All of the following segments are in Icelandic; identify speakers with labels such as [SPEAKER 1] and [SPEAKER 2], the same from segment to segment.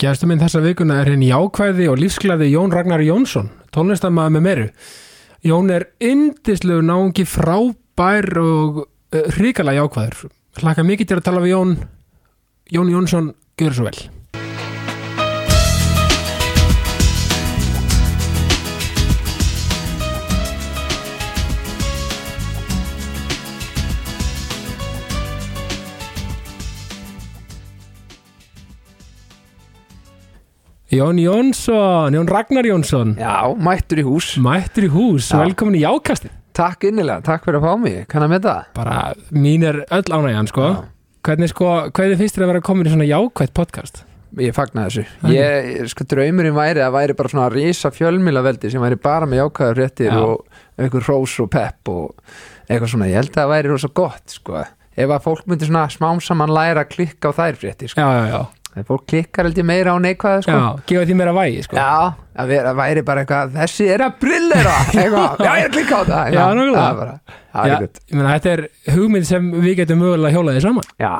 [SPEAKER 1] Gæðstu minn þessa vikuna er hinn jákvæði og lífsglæði Jón Ragnar Jónsson, tónlistamæði með meru. Jón er yndislegur náungi frábær og uh, hrikalega jákvæður. Hlakka mikið til að tala við Jón. Jón Jónsson, gjör svo vel. Jón Jónsson, Jón Ragnar Jónsson,
[SPEAKER 2] Já, mættur í hús
[SPEAKER 1] mættur í hús,
[SPEAKER 2] Já.
[SPEAKER 1] velkomin í jákastin.
[SPEAKER 2] Takk innilega, takk fyrir að fá mig, kann að með það
[SPEAKER 1] Bara mín er öll ánægjan, sko.
[SPEAKER 2] Já.
[SPEAKER 1] Hvernig sko, hvað er fyrst þér að vera komin í svona jákvætt podcast?
[SPEAKER 2] Ég fagna þessu ég, sko, Draumurinn væri að væri bara svona risa fjölmila veldi sem væri bara með jákvæður réttir
[SPEAKER 1] Já.
[SPEAKER 2] og einhver rós og pepp og eitthvað svona, ég held að það væri rosa gott sko. ef að fólk myndi svona smám saman læra að klikka á þær fréttir sko.
[SPEAKER 1] Já, já, já.
[SPEAKER 2] ef fólk klikkar held ég meira á neikvæða sko.
[SPEAKER 1] Já, gefa því meira vægi, sko.
[SPEAKER 2] Já, að vera, væri bara eitthvað þessi er að brillera eitthvað, já ég er að klikka á það
[SPEAKER 1] Já, nákvæmlega.
[SPEAKER 2] það er bara, það
[SPEAKER 1] Já,
[SPEAKER 2] er gott
[SPEAKER 1] ég meina, þetta er hugmynd sem við getum mögulega hjólaðið saman.
[SPEAKER 2] Já,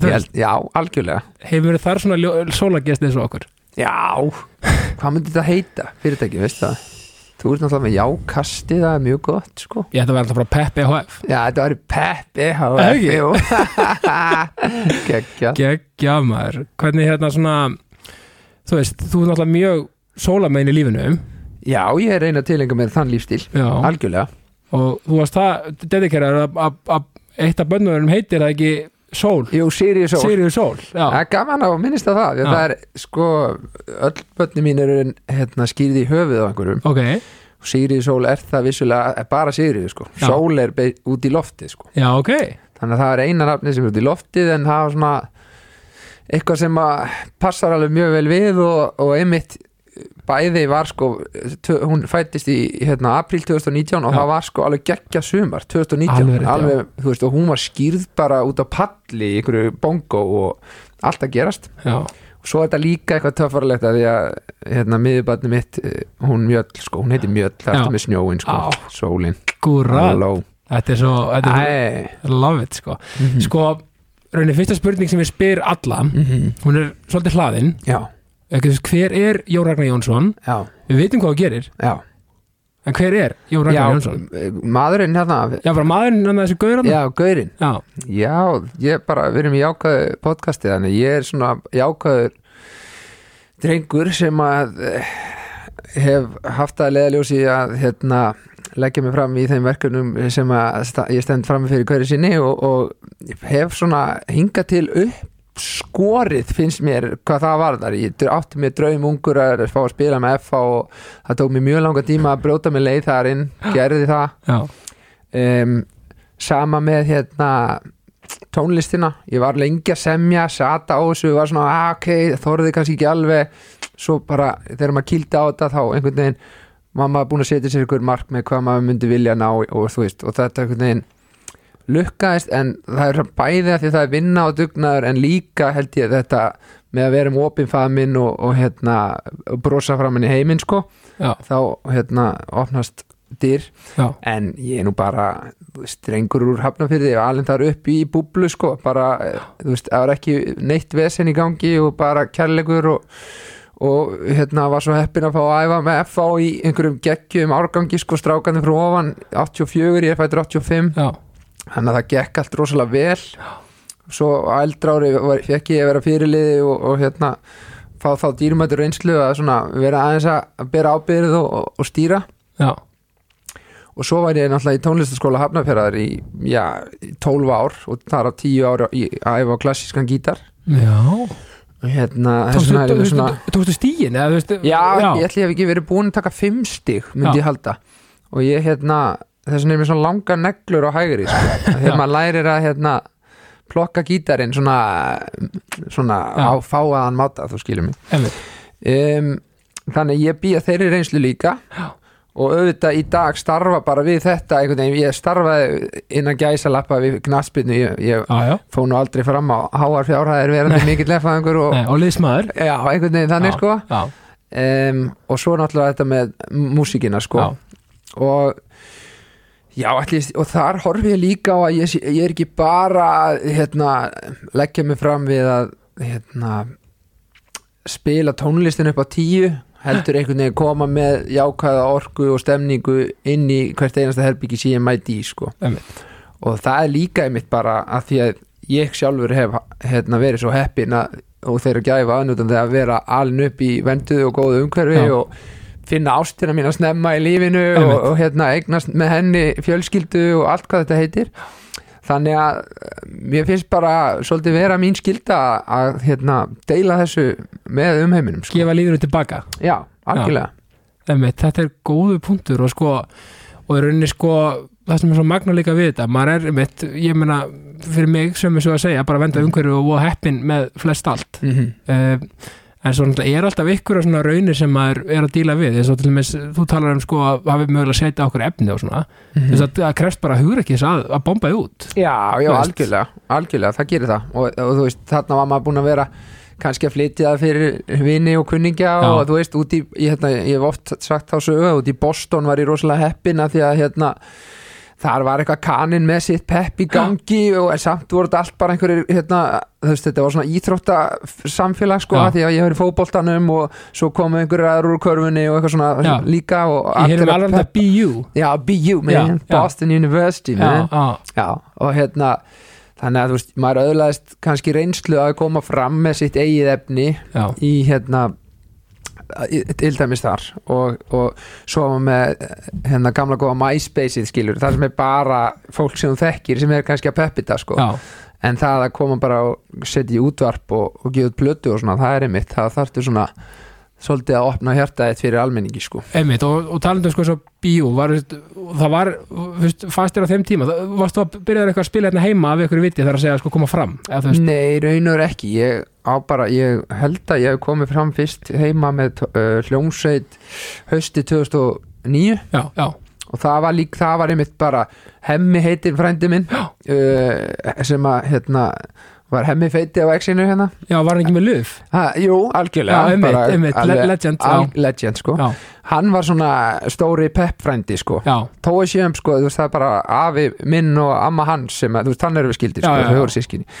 [SPEAKER 1] Þú
[SPEAKER 2] ég
[SPEAKER 1] veist.
[SPEAKER 2] held, já, algjörlega
[SPEAKER 1] Hefur þar svona sólagest eins og okkur?
[SPEAKER 2] Já, hvað myndi þetta heita fyrirtæki, veist það? Þú ert náttúrulega með jákasti, það er mjög gott, sko.
[SPEAKER 1] Ég ætla að vera alltaf bara Pepp EHF.
[SPEAKER 2] Já, þetta var Peppi, það
[SPEAKER 1] Er
[SPEAKER 2] var
[SPEAKER 1] ekki?
[SPEAKER 2] ekki. Gekja.
[SPEAKER 1] Gekkja maður. Hvernig hérna svona, þú veist, þú er náttúrulega mjög sólamein í lífinu.
[SPEAKER 2] Já, ég er reyna að tilenga mér þann lífstíl,
[SPEAKER 1] Já.
[SPEAKER 2] algjörlega.
[SPEAKER 1] Og þú varst það, dedikeraður að- að að eitt af bönnurum heitir það ekki sól.
[SPEAKER 2] Jú, Sirius Sól.
[SPEAKER 1] Sirius sól.
[SPEAKER 2] Það
[SPEAKER 1] Já.
[SPEAKER 2] er gaman að minnist að það, því
[SPEAKER 1] Já.
[SPEAKER 2] að það er, sko, öll börni mín eru hérna, skýrði í höfuð á einhverjum.
[SPEAKER 1] Ok.
[SPEAKER 2] Sirius Sól er það vissulega, er bara Sirius, sko.
[SPEAKER 1] Já.
[SPEAKER 2] Sól er be- út í loftið, sko.
[SPEAKER 1] Já, ok.
[SPEAKER 2] þannig að það er eina nafni sem er út í loftið en það var svona eitthvað sem að passar alveg mjög vel við og, og einmitt bæði var sko tvö, hún fættist í hérna, april 2019 og
[SPEAKER 1] Já.
[SPEAKER 2] það var sko alveg geggja sumar 2019
[SPEAKER 1] Alveg rétt, já.
[SPEAKER 2] þú veist, og hún var skýrð bara út á palli í einhverju bongo og allt að gerast
[SPEAKER 1] Já.
[SPEAKER 2] og svo er þetta líka eitthvað töffarlegt að því að hérna, miðurbarni mitt, eh, hún mjöll sko, hún heitir mjöll, það
[SPEAKER 1] Já.
[SPEAKER 2] er þetta með snjóin sko,
[SPEAKER 1] Á.
[SPEAKER 2] sólin,
[SPEAKER 1] Gúrað.
[SPEAKER 2] halló
[SPEAKER 1] Þetta er svo, þetta er
[SPEAKER 2] Æ, Mm.
[SPEAKER 1] svo, love it, sko. Sko, rauninni, fyrsta spurning sem ég spyr alla,
[SPEAKER 2] mhm.
[SPEAKER 1] hún er svolítið hlaðin.
[SPEAKER 2] já,
[SPEAKER 1] ekki, þú veist, hver er Jón Ragnar Jónsson
[SPEAKER 2] já,
[SPEAKER 1] við veitum hvað það gerir,
[SPEAKER 2] já
[SPEAKER 1] en hver er Jón Ragnar Jónsson
[SPEAKER 2] eh, maðurinn hérna
[SPEAKER 1] já, bara maðurinn hann að þessu gauður hann
[SPEAKER 2] Já, gaurinn
[SPEAKER 1] já,
[SPEAKER 2] Já, ég bara, við erum í jákvæðu podcasti þannig ég er svona jákvæður drengur sem að eh, hef haft að leiðaljósi að hérna leggja mig fram í þeim verkefnum sem að sta- ég stend fram fyrir hverju sinni og, og hef svona hinga til upp skorið finnst mér hvað það var þar ég dr- átti mér draum ungur að fá að spila með FH og það tók mér mjög langa tíma að brjóta mig leið þar inn, gerði það
[SPEAKER 1] já,
[SPEAKER 2] um, sama með hérna tónlistina, ég var lengi að semja sata á þessu, var svona ah, ok, þorði kannski ekki alveg svo bara þegar maður kýldi á þetta þá einhvern veginn, maður maður búin að setja sér einhver mark með hvað maður myndi vilja ná og þú veist, og þetta einhvern veginn lukkaðist en það er svona bæði af því að það er vinna og dugnaður en líka held ég þetta með að vera um opinfaðminn og, og hérna brosa framann í heiminn sko
[SPEAKER 1] já,
[SPEAKER 2] þá hérna opnast dyr
[SPEAKER 1] já,
[SPEAKER 2] en ég er nú bara þú veist, strengur úr hafnafyrði og alveg þar upp í búblu sko bara, eh, þú veist, það var ekki neitt vesen í gangi og bara kærleikur og, og hérna var svo heppin að fá að æfa með FA í einhverjum geggjum árgangi sko strákanum frá ofan 84, ég er fættur 85
[SPEAKER 1] já,
[SPEAKER 2] þannig að það gekk allt rosalega vel svo á eldra ári var, fekk ég að vera fyrirliði og, og hérna fá þá dýrmættur reynslu að svona vera aðeins að bera ábyrð og, og, og stýra
[SPEAKER 1] já,
[SPEAKER 2] og svo var ég náttúrulega í tónlistaskóla hafnafjörðar í, já, í 12 ár og þar á 10 ár í, að æfa á klassískan gítar
[SPEAKER 1] já.
[SPEAKER 2] og hérna
[SPEAKER 1] Tókstu,
[SPEAKER 2] þessuna er
[SPEAKER 1] tókstu,
[SPEAKER 2] ég svona
[SPEAKER 1] tókstu stíin eða, þú veist,
[SPEAKER 2] já, ég ætli ég hef ekki verið búin að taka 5 stig myndi
[SPEAKER 1] Já.
[SPEAKER 2] ég halda og ég hérna, þessuna er mér svona langa neglur á hægri, sko, Af því
[SPEAKER 1] Já.
[SPEAKER 2] að maður lærir að hérna plokka gítarinn svona, svona á
[SPEAKER 1] Já.
[SPEAKER 2] fáaðan máta, þú skilur mig
[SPEAKER 1] einmitt.
[SPEAKER 2] um, þannig ég býja þeirri reynslu líka
[SPEAKER 1] Já.
[SPEAKER 2] og auðvitað í dag starfa bara við þetta einhvern veginn, ég starfaði innan gæsalappa við knaspinu, ég, ég
[SPEAKER 1] já, já,
[SPEAKER 2] fó nú aldrei fram á háar fjárhæðir verandi mikill lefaðingur og
[SPEAKER 1] Nei, og liðsmaður
[SPEAKER 2] já, einhvern veginn þannig
[SPEAKER 1] já,
[SPEAKER 2] sko
[SPEAKER 1] já,
[SPEAKER 2] um, og svo náttúrulega þetta með músíkina sko
[SPEAKER 1] já,
[SPEAKER 2] og Já, allir, og þar horfi ég líka á að ég, sé- ég er ekki bara að, hérna, leggja mig fram við að hérna, spila tónlistin upp á tíu heldur einhvern veginn koma með jákvæða orku og stemningu inn í hvert einasta herbyggi síðan mæti í sko.
[SPEAKER 1] Einmitt.
[SPEAKER 2] og það er líka einmitt bara að því að ég sjálfur hef hérna, verið svo heppin að, og þeirra gæfa aðnútan þegar að vera alin upp í venduðu og góðu umhverfi
[SPEAKER 1] Já.
[SPEAKER 2] og finna ástina mín að snemma í lífinu og,
[SPEAKER 1] Einmitt.
[SPEAKER 2] og hérna, eignast með henni fjölskyldu og allt hvað þetta heitir þannig að eh, mér finnst bara svolítið vera mín skylda að hérna, deila þessu með umheiminum sko.
[SPEAKER 1] gefa lífinu tilbaka
[SPEAKER 2] já, algjörlega
[SPEAKER 1] Emme, þetta er góðu punktur og sko og í rauninni sko það sem er svo magna líka við þetta maður er, einmitt, ég meina fyrir mig sem er svo að segja, bara venda umhverju og voða heppin með flest allt
[SPEAKER 2] mm -hmm.
[SPEAKER 1] uh, en svo náttúrulega er alltaf ykkur og svona raunir sem maður er að díla við eins og til dæmis, þú talar um sko að hafi mögulega setja okkur efni og svona mm -hmm. það krefst bara hugur ekki að, að bomba þig út
[SPEAKER 2] Já, já,
[SPEAKER 1] Þú veist.
[SPEAKER 2] algjörlega, algjörlega, það gerir það og, og þú veist, þarna var maður búin að vera kannski að flytja það fyrir vini og kunningja
[SPEAKER 1] Já.
[SPEAKER 2] og þú veist, út í, ég, hérna, ég hef oft sagt þá sögu, út í Boston var ég rosalega heppin að því að hérna þar var eitthvað kanin með sitt pepp í gangi og en samt voru þetta allt bara einhverjir hérna, þú veist, þetta var svona íþrótta samfélag sko,
[SPEAKER 1] Já.
[SPEAKER 2] að því að ég hefur í fótboltanum og svo komu einhverjir aður úr körfunni og eitthvað svona
[SPEAKER 1] Já.
[SPEAKER 2] líka og
[SPEAKER 1] ég heyrum
[SPEAKER 2] að
[SPEAKER 1] alveg um
[SPEAKER 2] peppa-
[SPEAKER 1] þetta BU
[SPEAKER 2] Já, BU, man,
[SPEAKER 1] Já, já.
[SPEAKER 2] Boston University man.
[SPEAKER 1] já, já,
[SPEAKER 2] Já, og hérna þannig að þú veist, maður öðlaðist kannski reynslu að koma fram með sitt eigið efni
[SPEAKER 1] já,
[SPEAKER 2] í hérna í- til dæmis þar og, og svo var með hérna gamla góða MySpace-ið skilur, það sem er bara fólk sem þú þekkir sem er kannski að peppita sko,
[SPEAKER 1] já.
[SPEAKER 2] en það að koma bara og setja í útvarp og, og gefa út blötu og svona, það er einmitt, það þarftu svona svolítið að opna hjartaðið fyrir almenningi sko.
[SPEAKER 1] Einmitt, og, og talandum sko svo bíó var, veist, það var veist, fastir á þeim tíma, það, varstu að byrjaður eitthvað að spila hérna heima af ykkur viti þar að segja sko koma fram eða, þú veist,
[SPEAKER 2] Nei, raunur ekki ég, á bara, ég held að ég hef komið fram fyrst heima með uh, hljómsveit hausti 2009
[SPEAKER 1] já, já,
[SPEAKER 2] og það var lík, það var einmitt bara hemmi heitir frændi minn uh, sem að hérna var hemmi feiti á exinu hérna
[SPEAKER 1] já, var hann ekki með luf
[SPEAKER 2] ha, Jú, algjörlega
[SPEAKER 1] Já, einmitt,
[SPEAKER 2] bara
[SPEAKER 1] einmitt, le-
[SPEAKER 2] alveg-
[SPEAKER 1] legend, já.
[SPEAKER 2] al, legend sko.
[SPEAKER 1] já,
[SPEAKER 2] hann var svona stóri pepp frændi sko
[SPEAKER 1] já,
[SPEAKER 2] þó að séum sko, þú veist, það er bara afi minn og amma hans sem, að, þú veist, hann eru við skildir sko,
[SPEAKER 1] Já, já,
[SPEAKER 2] þau
[SPEAKER 1] já.
[SPEAKER 2] voru sískinni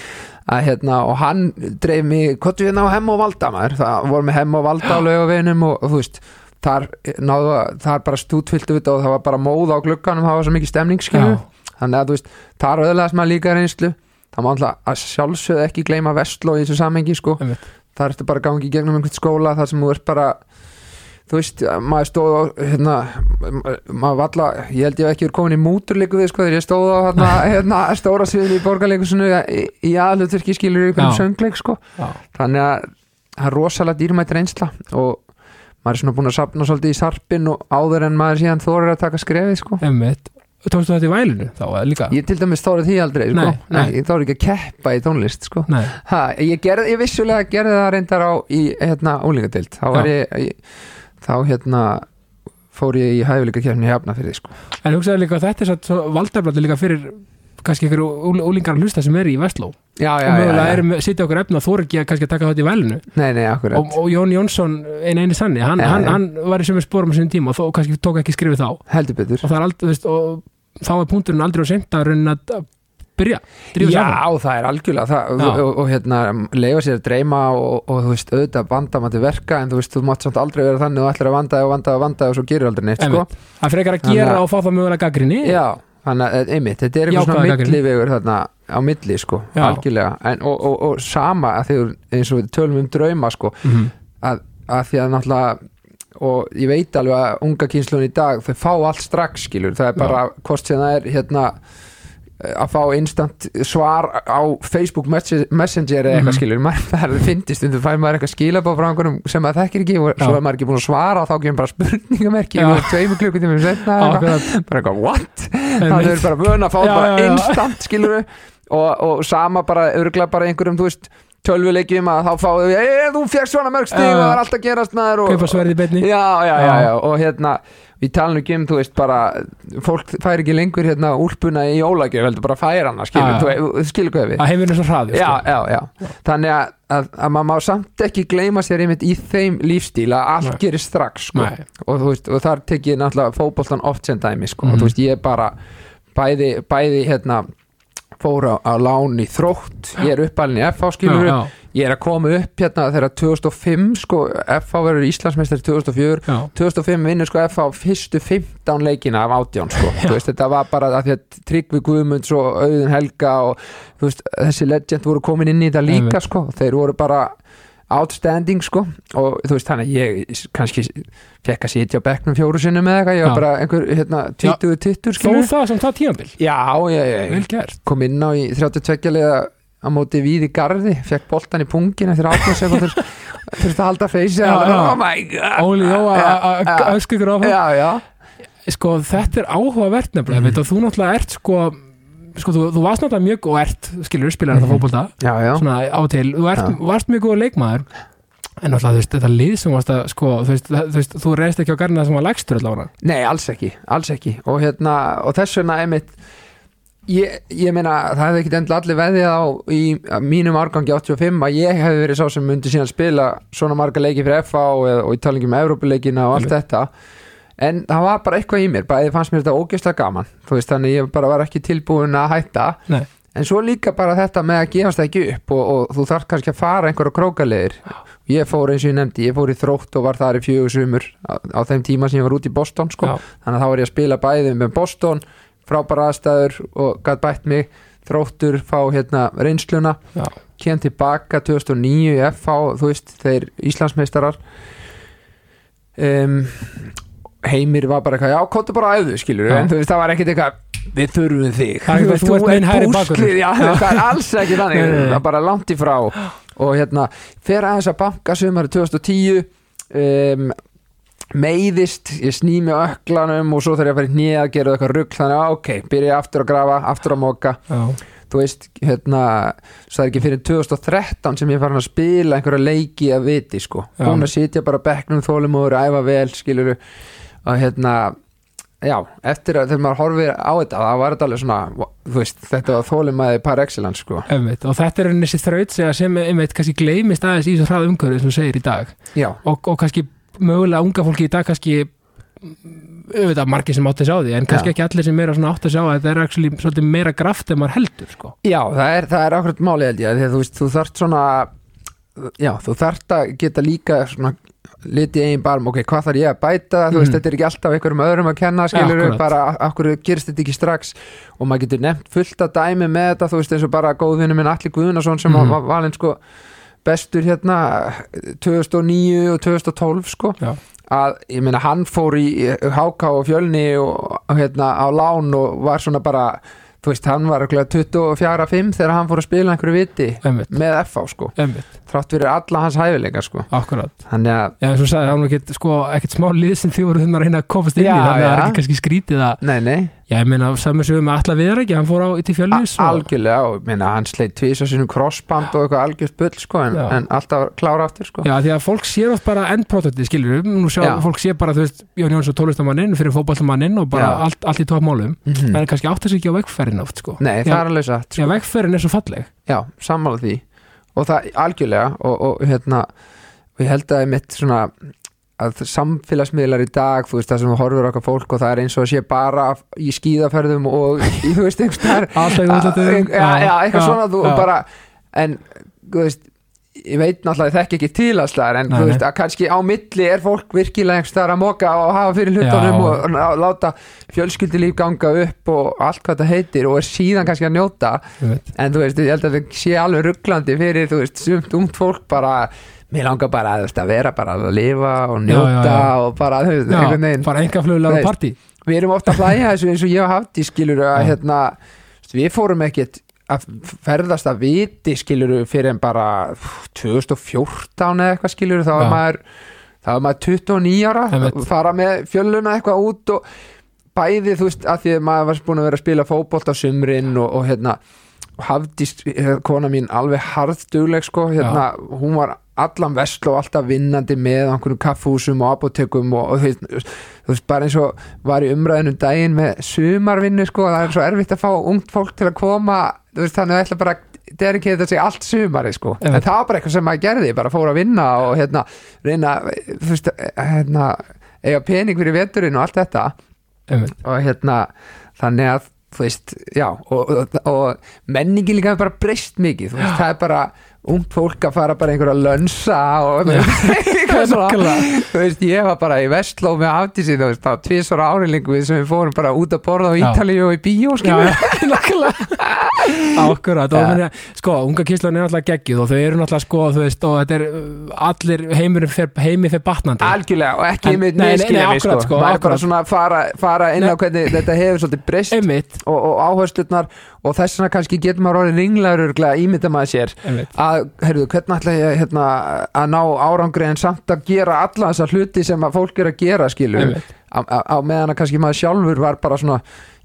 [SPEAKER 2] að hérna, og hann dreif mig, kottu hérna á hemm og valda maður, það voru með hemm og valda á laugaveginum og, og þú veist, þar náðu að, þar bara stútfylltu við þetta og það var bara móð á glugganum, það var svo mikið stemning
[SPEAKER 1] já,
[SPEAKER 2] skilur, þannig að þú veist, þar öðlaðast maður líka reynslu, það má alltaf að sjálfsögðu ekki gleyma vestló í þessu samengi sko,
[SPEAKER 1] Einmitt.
[SPEAKER 2] þar ertu bara að gangi í gegnum einhvern skóla þar sem þú ert bara þú veist, maður stóð á hérna, ma- maður valla, ég held ég hef ekki verið komin í múturleiku við sko, þegar ég stóð á hérna, hérna stóra sviðinu í borgarleikusinu í, í aðlutverki skilur í einhverjum
[SPEAKER 1] Já.
[SPEAKER 2] söngleik sko,
[SPEAKER 1] já,
[SPEAKER 2] þannig að það er rosalega dýrmætt reynsla og maður er svona búin að sapna svolítið í sarpin og áður en maður síðan þorir að taka skrefið sko
[SPEAKER 1] einmitt Tókstu þetta í vælinu þá eða líka?
[SPEAKER 2] Ég til dæmis þórið því aldrei sko.
[SPEAKER 1] Nei, nei.
[SPEAKER 2] Ég þórið ekki að keppa í tónlist sko.
[SPEAKER 1] Nei,
[SPEAKER 2] ha, ég, gerð, ég vissulega gerði það reyndar á í hérna, úlingadeild þá, var
[SPEAKER 1] Já.
[SPEAKER 2] ég, ég, þá hérna, fór ég í hæfuleika kefni í Hafnafyrði sko.
[SPEAKER 1] en hugsaðu líka að þetta er satt valdaflandi líka fyrir kannski ykkur úl- úlingar að hlusta sem er í Vestló
[SPEAKER 2] Já,
[SPEAKER 1] og
[SPEAKER 2] já, já,
[SPEAKER 1] mögulega
[SPEAKER 2] já.
[SPEAKER 1] erum sitja okkur efna og þóra ekki að kannski að taka þetta í vælinu
[SPEAKER 2] Nei, nei, akkurat
[SPEAKER 1] og, og Jón Jónsson einu einu sanni, hann,
[SPEAKER 2] Já,
[SPEAKER 1] hann,
[SPEAKER 2] já.
[SPEAKER 1] hann var í sömu spórum á sinni tíma og, þó, og kannski tók ekki skrifið þá
[SPEAKER 2] Heldur
[SPEAKER 1] og
[SPEAKER 2] betur
[SPEAKER 1] það er aldrei, þú veist, og þá er punkturinn aldrei á seint að raunin að að byrja drífa sér áfram
[SPEAKER 2] Já, það er algjörlega
[SPEAKER 1] Já.
[SPEAKER 2] það, og, og, og hérna, leifa sér að dreyma og, og þú veist, auðvitað vanda maður til verka en þú veist, þú mátt samt aldrei vera þannig og ætlar að vanda og vanda og vanda og svo gerir aldrei neitt sko.
[SPEAKER 1] Einmitt. það er frekar að
[SPEAKER 2] Þannig
[SPEAKER 1] gera
[SPEAKER 2] að-
[SPEAKER 1] og fá það mögulega gaggrinni
[SPEAKER 2] Já, þannig að eh, einmitt, þetta er eitthvað
[SPEAKER 1] Jákvæða
[SPEAKER 2] svona
[SPEAKER 1] gagnrýni.
[SPEAKER 2] millivegur þarna á milli sko,
[SPEAKER 1] Já.
[SPEAKER 2] algjörlega en, og, og, og sama að þegar eins og við tölum um drauma sko,
[SPEAKER 1] mm -hmm.
[SPEAKER 2] að, að því að náttúrulega og ég veit alveg að unga kynslun í dag þau fá allt strax skilur það er bara hvort sem það er hérna eh, að fá instant svar á Facebook Messe- Messenger eða eitthvað
[SPEAKER 1] Mhm.
[SPEAKER 2] skilur maður það finnist um þú fær maður eitthvað skilabá frá einhverjum sem maður þekkir ekki og svo
[SPEAKER 1] Já.
[SPEAKER 2] er maður ekki búin að svara þá kemur bara spurningamerki
[SPEAKER 1] Já.
[SPEAKER 2] og tveimur klukkutímum setna eða eitthvað.
[SPEAKER 1] Ákveðat,
[SPEAKER 2] bara eitthvað what
[SPEAKER 1] einmitt.
[SPEAKER 2] þannig er bara vön að fá
[SPEAKER 1] Já,
[SPEAKER 2] bara
[SPEAKER 1] já, já.
[SPEAKER 2] instant skilur og, og sama bara örgla bara einhverjum þú veist tölvuleikjum að þá fáðu við e, þú fegst svona mörg stig
[SPEAKER 1] Já, já.
[SPEAKER 2] og það er allt að gerast maður og,
[SPEAKER 1] kaupa sverði beinni
[SPEAKER 2] já, já, já,
[SPEAKER 1] Já.
[SPEAKER 2] já, og hérna við talum ekki um, þú veist, bara fólk fær ekki lengur hérna úlpuna í jólagjöf heldur bara fær hana, skilur,
[SPEAKER 1] Já, já.
[SPEAKER 2] þú, þú- þú skilur hvað við
[SPEAKER 1] að heimurinn er svo hraður
[SPEAKER 2] já,
[SPEAKER 1] sko.
[SPEAKER 2] já, já, þannig að, að, að maður má samt ekki gleyma sér einmitt í þeim lífstíl að allt
[SPEAKER 1] Nei.
[SPEAKER 2] gerist strax sko
[SPEAKER 1] Nei,
[SPEAKER 2] og þú veist, og þar tek ég náttúrulega fótboltan oft sem dæmi, sko,
[SPEAKER 1] Mhm.
[SPEAKER 2] og þú veist, ég er bara bæði, bæði hérna fór á, á lán í þrótt, ég er uppalinn í FH skilur,
[SPEAKER 1] já, já.
[SPEAKER 2] ég er að koma upp hérna þegar 2005 sko, FH verður Íslandsmeistari 2004
[SPEAKER 1] já,
[SPEAKER 2] 2005 vinnur sko FH fyrstu 15 leikina af átján sko Þú veist, þetta var bara að því að Tryggvi Guðmunds og Auðun Helga og þú veist, þessi legend voru komin inn í þetta líka sko þeir voru bara outstanding sko og þú veist þannig að ég kannski fekk að sitja á bekknum fjóru sinni með eitthvað, ég
[SPEAKER 1] Já.
[SPEAKER 2] var bara einhver hérna 20-20
[SPEAKER 1] þó
[SPEAKER 2] skilur
[SPEAKER 1] það sem það tímabil
[SPEAKER 2] Já, já, já, já
[SPEAKER 1] vel gert
[SPEAKER 2] kom inn á í 32 liða á móti við í garði, fekk boltan í pungin eftir 18 sekundur þurfti að halda feysi
[SPEAKER 1] Já, já.
[SPEAKER 2] oh my god
[SPEAKER 1] Óli Jó að- að
[SPEAKER 2] Já, já.
[SPEAKER 1] öskugur áfram
[SPEAKER 2] já, já,
[SPEAKER 1] sko þetta er áhugavert nefnilega
[SPEAKER 2] Mhm.
[SPEAKER 1] mm. þú náttúrulega ert sko sko þú, þú varst náttúrulega mjög og ert skilur spilar þetta
[SPEAKER 2] Mhm.
[SPEAKER 1] fótbolta
[SPEAKER 2] já, já.
[SPEAKER 1] svona á til, þú ert,
[SPEAKER 2] Já.
[SPEAKER 1] varst mjög góð leikmaður en náttúrulega þú veist þetta lið sem varst að sko þú veist, það- þú, veist, þú reist ekki á garna sem var lægstur allavega
[SPEAKER 2] nei, alls ekki, alls ekki og, hérna, og þess vegna einmitt ég, ég meina, það hefði ekkit endla allir veðið á í mínum árgangi 85 að ég hefði verið sá sem myndi síðan spila svona marga leiki fyrir FA og, og í talingi um Evrópuleikina og allt þetta en það var bara eitthvað í mér, bæði fannst mér þetta ógjösta gaman, þú veist, þannig ég bara var ekki tilbúin að hætta
[SPEAKER 1] Nei.
[SPEAKER 2] en svo líka bara þetta með að gefast ekki upp og, og þú þarf kannski að fara einhverja krókaleir ég fór eins og ég nefndi, ég fór í þrótt og var þar í fjögur sumur á, á þeim tíma sem ég var út í Boston sko.
[SPEAKER 1] Já.
[SPEAKER 2] þannig að þá var ég að spila bæði með Boston frábæra aðstæður og gætt bætt mig þróttur, fá hérna reynsluna
[SPEAKER 1] Já.
[SPEAKER 2] kem tilbaka 2009 í FH, þú veist, þeir Íslandsmeistarar um, heimir var bara eitthvað, já, kóttu bara að æðu skilur,
[SPEAKER 1] Já.
[SPEAKER 2] en þú veist, það var ekkit eitthvað við þurfum þig,
[SPEAKER 1] Það er ekki bara, þú ert minn hægri bakvörður.
[SPEAKER 2] púslið, já, það er alls ekki þannig,
[SPEAKER 1] Nei, nei, nei.
[SPEAKER 2] það er bara langt í frá og hérna, fer aðeins að banka sumari 2010 um, meiðist, ég sný með öklanum og svo þarf ég að fara í hnið að gera eitthvað rugg, þannig að ok, byrja ég aftur að grafa aftur að móka
[SPEAKER 1] já,
[SPEAKER 2] þú veist, hérna svo það er ekki fyrir 2013 sem ég er farin að spila einhverja leiki að viti, sko
[SPEAKER 1] Já.
[SPEAKER 2] búin að sitja bara á bekknum þólum og æfa vel, skilur og hérna, já, eftir að þegar maður horfir á þetta, það var þetta alveg svona þú veist, þetta var þólum aðeins par excellence, sko,
[SPEAKER 1] einmitt, og þetta er þessi þraut sem einmitt kannski gleymist aðeins í þessu hraða umhverju sem þú segir í dag
[SPEAKER 2] já,
[SPEAKER 1] og, og kannski mögulega unga fólki í dag kannski mm, auðvitað margir sem átti að sjá því en kannski
[SPEAKER 2] Já.
[SPEAKER 1] ekki allir sem eru svona átti að sjá að þetta er actually, svolítið meira graft en maður heldur sko.
[SPEAKER 2] já, það er, það er akkurat máli held ég, af því að þú veist, þú þarft svona já, þú þarft að geta líka svona litið einn barm ok, hvað þarf ég að bæta, þú veist,
[SPEAKER 1] Mhm.
[SPEAKER 2] þetta er ekki alltaf einhverjum öðrum að kenna, skilur
[SPEAKER 1] Akkúrat.
[SPEAKER 2] við bara, akkur gerist þetta ekki strax og maður getur nefnt fullt að dæmi með þetta, þú veist, eins og bara góðvinu minn Alli Guðunason sem
[SPEAKER 1] Mhm.
[SPEAKER 2] var valinn sko bestur hérna 2009 og 2012 sko
[SPEAKER 1] Já.
[SPEAKER 2] að, ég meina, hann fór í háká og fjölni og og hérna á lán og var svona bara þú veist, hann var örugglega 24-5 þegar hann fór að spila einhverju viti
[SPEAKER 1] einmitt,
[SPEAKER 2] með FH sko,
[SPEAKER 1] einmitt,
[SPEAKER 2] þrátt fyrir alla hans hæfileika sko,
[SPEAKER 1] akkurat
[SPEAKER 2] þannig að
[SPEAKER 1] Já, eins og sagði, það var ekkert, sko, ekkert smá lið sem þið voru þeim að reyna að komast inn í
[SPEAKER 2] Já,
[SPEAKER 1] þannig að það er
[SPEAKER 2] já.
[SPEAKER 1] ekki kannski skrítið að
[SPEAKER 2] Nei, nei,
[SPEAKER 1] Já, ég meina, saman sem við með alla viðar ekki, hann fór á ytti
[SPEAKER 2] a-
[SPEAKER 1] fjölnis og,
[SPEAKER 2] algjörlega og minna, hann sleitt tvís á sínum crossband og eitthvað algjört bull sko, en,
[SPEAKER 1] Já.
[SPEAKER 2] en alltaf klára aftur sko
[SPEAKER 1] Já, því að fólk sér oft bara endproduktið, skilur við, nú sjá,
[SPEAKER 2] Já.
[SPEAKER 1] fólk sér bara, þú veist, Jón Jónsson tólistamanninn fyrir fótballtamanninn og bara
[SPEAKER 2] Já.
[SPEAKER 1] allt, allt í toppmálum,
[SPEAKER 2] Mhm.
[SPEAKER 1] en það er kannski átt að sér ekki á vegferðin oft, sko.
[SPEAKER 2] Nei, það
[SPEAKER 1] Já.
[SPEAKER 2] er alveg satt
[SPEAKER 1] Já, vegferðin er svo falleg.
[SPEAKER 2] Já, sammála því og það algjörlega og, og hérna og ég held að ég mitt svona að samfélagsmiðlar í dag þú veist það sem þú horfur okkar fólk og það er eins og að sé bara í skíðaferðum og í, þú veist einhvers þar
[SPEAKER 1] Alltaf í útlættum.
[SPEAKER 2] já, já, eitthvað svona þú bara en þú veist ég veit náttúrulega ég þekki ekki til að slagar en
[SPEAKER 1] Nei,
[SPEAKER 2] þú
[SPEAKER 1] nei.
[SPEAKER 2] veist að kannski á milli er fólk virkilega einhvers þar að moka og hafa fyrir hlutunum
[SPEAKER 1] Já.
[SPEAKER 2] og, og láta fjölskyldilíf ganga upp og allt hvað það heitir og er síðan kannski að njóta
[SPEAKER 1] Einmitt.
[SPEAKER 2] en þú veist, ég held að það sé alveg rugglandi fyrir, þú veist, sumt umt fólk bara, mér langar bara þú veist, að vera bara að lifa og
[SPEAKER 1] Já,
[SPEAKER 2] njóta
[SPEAKER 1] já, já.
[SPEAKER 2] og bara, þú veist, einhvern
[SPEAKER 1] Já,
[SPEAKER 2] veginn
[SPEAKER 1] bara enga fluglega á
[SPEAKER 2] Veist.
[SPEAKER 1] partí.
[SPEAKER 2] við erum ofta að hlæja þessu eins og ég hafði skilur að
[SPEAKER 1] Já.
[SPEAKER 2] hérna, við fórum ekkit að ferðast að viti skilur fyrir en bara 2014 eða eitthvað skilur þá
[SPEAKER 1] Já.
[SPEAKER 2] var maður þá var maður 29 ára
[SPEAKER 1] Einmitt.
[SPEAKER 2] fara með fjöluna eitthvað út og bæði þú veist að því að maður var búin að vera að spila fótbolt á sumrin og, og hérna og hafdist kona mín alveg harðdugleg sko hérna, hún var allan vesl og alltaf vinnandi með einhverjum kaffúsum og apotekum og, og þú veist, þú veist bara eins og var í umræðinu um daginn með sumarvinnu sko það er svo erfitt að fá ungt fólk til að koma þú veist þannig að ætla bara að dedicate sig allt sumari sko en
[SPEAKER 1] Einmitt.
[SPEAKER 2] það var bara eitthvað sem maður gerði, bara fór að vinna og hérna reyna þú veist hérna eiga pening fyrir veturinn og allt þetta
[SPEAKER 1] Einmitt.
[SPEAKER 2] og hérna þannig að þú veist, já og, og, og menningi líka hefur bara breyst mikið þú veist, það er bara, ung fólk að fara bara einhverja lönsa og
[SPEAKER 1] Já.
[SPEAKER 2] eitthvað svona
[SPEAKER 1] Nákvæmlega.
[SPEAKER 2] þú veist, ég var bara í Vestló með aftísi, þú veist, það tvisar ári lengur við sem við fórum bara út að borða á
[SPEAKER 1] Já.
[SPEAKER 2] Ítalíu og í bíó,
[SPEAKER 1] Já,
[SPEAKER 2] skilur
[SPEAKER 1] nákvæmlega Akkurat, og
[SPEAKER 2] Já.
[SPEAKER 1] þannig að sko, unga kýrslan er náttúrulega geggjuð og þau eru náttúrulega sko, þú veist, og þetta er uh, allir heimurinn fer, heimi fyrir batnandi
[SPEAKER 2] algjörlega, og ekki
[SPEAKER 1] En-
[SPEAKER 2] einmitt
[SPEAKER 1] nei, nei, nei,
[SPEAKER 2] miskilja mig, sko,
[SPEAKER 1] akkurat, sko,
[SPEAKER 2] maður er bara
[SPEAKER 1] akkurat.
[SPEAKER 2] svona að fara, fara inn á
[SPEAKER 1] Nei.
[SPEAKER 2] hvernig þetta hefur svolítið breyst
[SPEAKER 1] Einmitt,
[SPEAKER 2] og, og áherslutnar og þess vegna kannski getur maður orðið ringlaður örgulega ímynda maður sér
[SPEAKER 1] einmitt
[SPEAKER 2] að, heyrðu, hvernig ætla ég hérna, að ná árangri en samt að gera alla þessa hluti sem að fólk er að gera skilu,
[SPEAKER 1] Einmitt.
[SPEAKER 2] á, á á meðan að kannski maður sjálfur var bara svona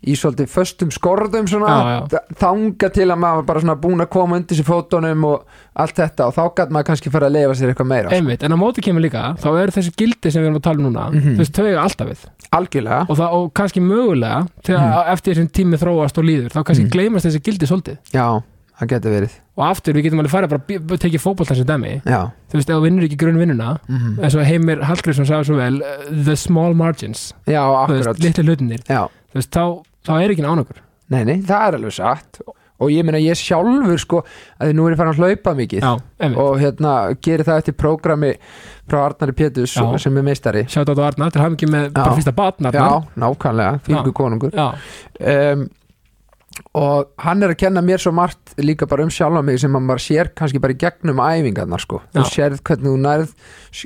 [SPEAKER 2] í svolítið föstum skorðum svona,
[SPEAKER 1] Já,
[SPEAKER 2] þanga til að maður var bara svona búin að koma undir sér fótunum og allt þetta og þá gæt maður kannski fara að leifa sér eitthvað meira
[SPEAKER 1] Einmitt, en á móti kemur líka, þá eru þessi gildi sem við erum að tala um núna, þú veist, þau eiga alltaf við
[SPEAKER 2] algjörlega,
[SPEAKER 1] og, það, og kannski mögulega þegar eftir þessum tími þróast og líður þá kannski gleymast þessi gildi svolítið
[SPEAKER 2] já, það getur verið
[SPEAKER 1] og aftur við getum alveg farið bara að bí- b- tekið fótboltan sem dæmi,
[SPEAKER 2] já,
[SPEAKER 1] þú veist, ef þú vinnur ekki grunnvinnuna
[SPEAKER 2] Mhm.
[SPEAKER 1] eins og Heimir Hallgrímsson sagði svo vel uh, the small margins,
[SPEAKER 2] já,
[SPEAKER 1] þú veist,
[SPEAKER 2] akkurat
[SPEAKER 1] litlu hlutinir
[SPEAKER 2] já,
[SPEAKER 1] þú veist, þá, þá er ekki nánokur
[SPEAKER 2] nei, nei, það er alveg satt og ég meina ég sjálfur sko að því nú er ég farin að hlaupa mikið
[SPEAKER 1] Já, einmitt,
[SPEAKER 2] og hérna gerir það eftir prógrami frá Arnari Pétus
[SPEAKER 1] Já.
[SPEAKER 2] sem er meistari
[SPEAKER 1] sjátt á þetta Arnar til hafingi með
[SPEAKER 2] Já.
[SPEAKER 1] bara fyrsta batn Arnar
[SPEAKER 2] Já, nákvæmlega, fylgur konungur
[SPEAKER 1] Já,
[SPEAKER 2] um, og hann er að kenna mér svo margt líka bara um sjálfa mig sem að maður sér kannski bara í gegnum æfingarnar sko,
[SPEAKER 1] Já.
[SPEAKER 2] þú sérð hvernig þú nærð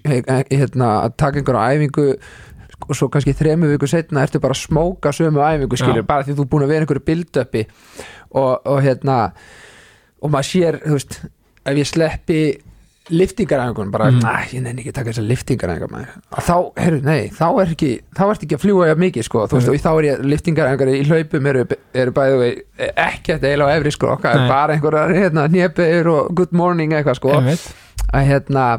[SPEAKER 2] eh, hérna, að taka einhverja æfingu sko, og svo kannski þremu viku setna ertu bara að smóka sömu æfingu skilur,
[SPEAKER 1] Já.
[SPEAKER 2] bara því þú er búin að vera einhverju build-upi og, og hérna og maður sér, þú veist ef ég sleppi liftingaræfingun bara,
[SPEAKER 1] Mhm.
[SPEAKER 2] mm. ég nenni ekki að taka þessar liftingaræfingar maður, að þá, herru, nei þá er ekki, þá ert ekki að fljúa ég mikið sko, þú veist, og þá er ég, liftingaræfingar í hlaupum eru, eru bæðu ekki þetta eiginlega á efri sko, okkar,
[SPEAKER 1] Nei.
[SPEAKER 2] bara einhverjar hérna, njöpur og good morning eitthvað sko,
[SPEAKER 1] einmitt
[SPEAKER 2] að hérna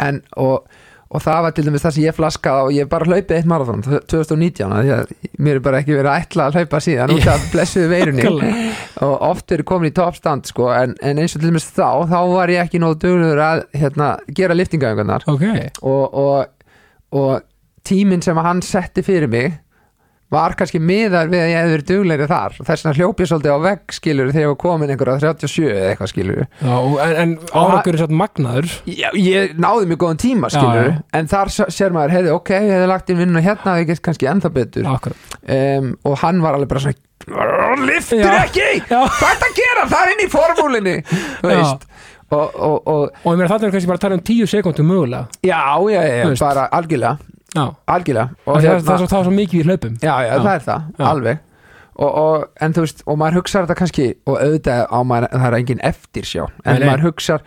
[SPEAKER 2] en og og það var til dæmis það sem ég flaskaði og ég bara hlaupið eitt marathon 2019 af því að mér er bara ekki verið að ætla að hlaupa síðan út af blessuðu veirunni
[SPEAKER 1] Nákvæmlega.
[SPEAKER 2] og oft eru komin í toppstand sko, en, en eins og til dæmis þá þá var ég ekki nóg duglur að hérna, gera liftingaöngarnar
[SPEAKER 1] Ok,
[SPEAKER 2] og, og, og tíminn sem hann setti fyrir mig var kannski miðar við að ég hefði verið duglegri þar og þess vegna hljóp ég svolítið á vegg skilur þegar ég var komin einhverja 37 eða eitthvað skilur
[SPEAKER 1] Já, og- en, en árakur er satt magnaður
[SPEAKER 2] Já, ég náði mjög góðan tíma
[SPEAKER 1] Já,
[SPEAKER 2] skilur
[SPEAKER 1] já.
[SPEAKER 2] en þar s- sér maður, heyrðu, ok, ég hefði lagt inn vinnuna hérna, ég get kannski ennþá betur
[SPEAKER 1] Akkurat
[SPEAKER 2] um, og hann var alveg bara svona liftur
[SPEAKER 1] Já.
[SPEAKER 2] ekki,
[SPEAKER 1] Já.
[SPEAKER 2] hvað er að gera það er inn í formúlinni þú
[SPEAKER 1] Já.
[SPEAKER 2] veist og, og, og
[SPEAKER 1] Og ég meira þarna er kannski bara að tala um tíu sekundum mögulega
[SPEAKER 2] já, já, já,
[SPEAKER 1] Þú
[SPEAKER 2] já
[SPEAKER 1] veist.
[SPEAKER 2] bara algjörlega,
[SPEAKER 1] Já,
[SPEAKER 2] algjörlega
[SPEAKER 1] og hérna-
[SPEAKER 2] og hérna-
[SPEAKER 1] það, það, er svo, það er svo mikið við hlaupum
[SPEAKER 2] já, já,
[SPEAKER 1] Já.
[SPEAKER 2] það er það,
[SPEAKER 1] Já.
[SPEAKER 2] alveg og, og, en þú veist, og maður hugsar þetta kannski og auðvitað á maður, það er engin eftirsjá en
[SPEAKER 1] Nei, nei.
[SPEAKER 2] maður hugsar,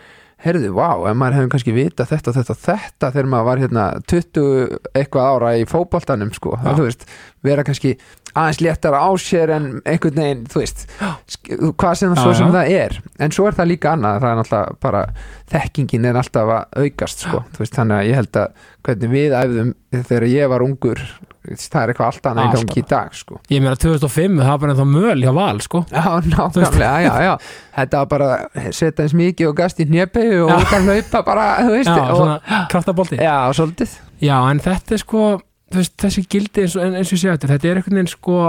[SPEAKER 2] heyrðu, vá en maður hefur kannski vitað þetta, og þetta, og þetta þegar maður var hérna 20 eitthvað ára í fótboltanum, sko,
[SPEAKER 1] Já.
[SPEAKER 2] það, þú veist vera kannski aðeins léttara á sér en einhvern veginn, þú veist sk- hvað sem,
[SPEAKER 1] Já,
[SPEAKER 2] svo sem
[SPEAKER 1] já.
[SPEAKER 2] það er en svo er það líka annað, það er náttúrulega bara þekkingin er alltaf að aukast sko. þú veist, þannig að ég held að hvernig við æfðum þegar ég var ungur það er eitthvað allt annað en
[SPEAKER 1] Alltaf.
[SPEAKER 2] gangi í dag sko.
[SPEAKER 1] Ég meira 2005, það var bara ennþá möl hjá val, sko
[SPEAKER 2] já, nákvæmlega, já, já þetta var bara að setja eins mikið og gast í hnjöpegu og
[SPEAKER 1] Já.
[SPEAKER 2] út að hlaupa bara, þú veist
[SPEAKER 1] Já,
[SPEAKER 2] og,
[SPEAKER 1] svona kraftabolti
[SPEAKER 2] já, svolítið
[SPEAKER 1] Já, en þetta er sko þú veist, þessi gildi eins og, en- eins og ég segja þetta þetta er einhvern veginn sko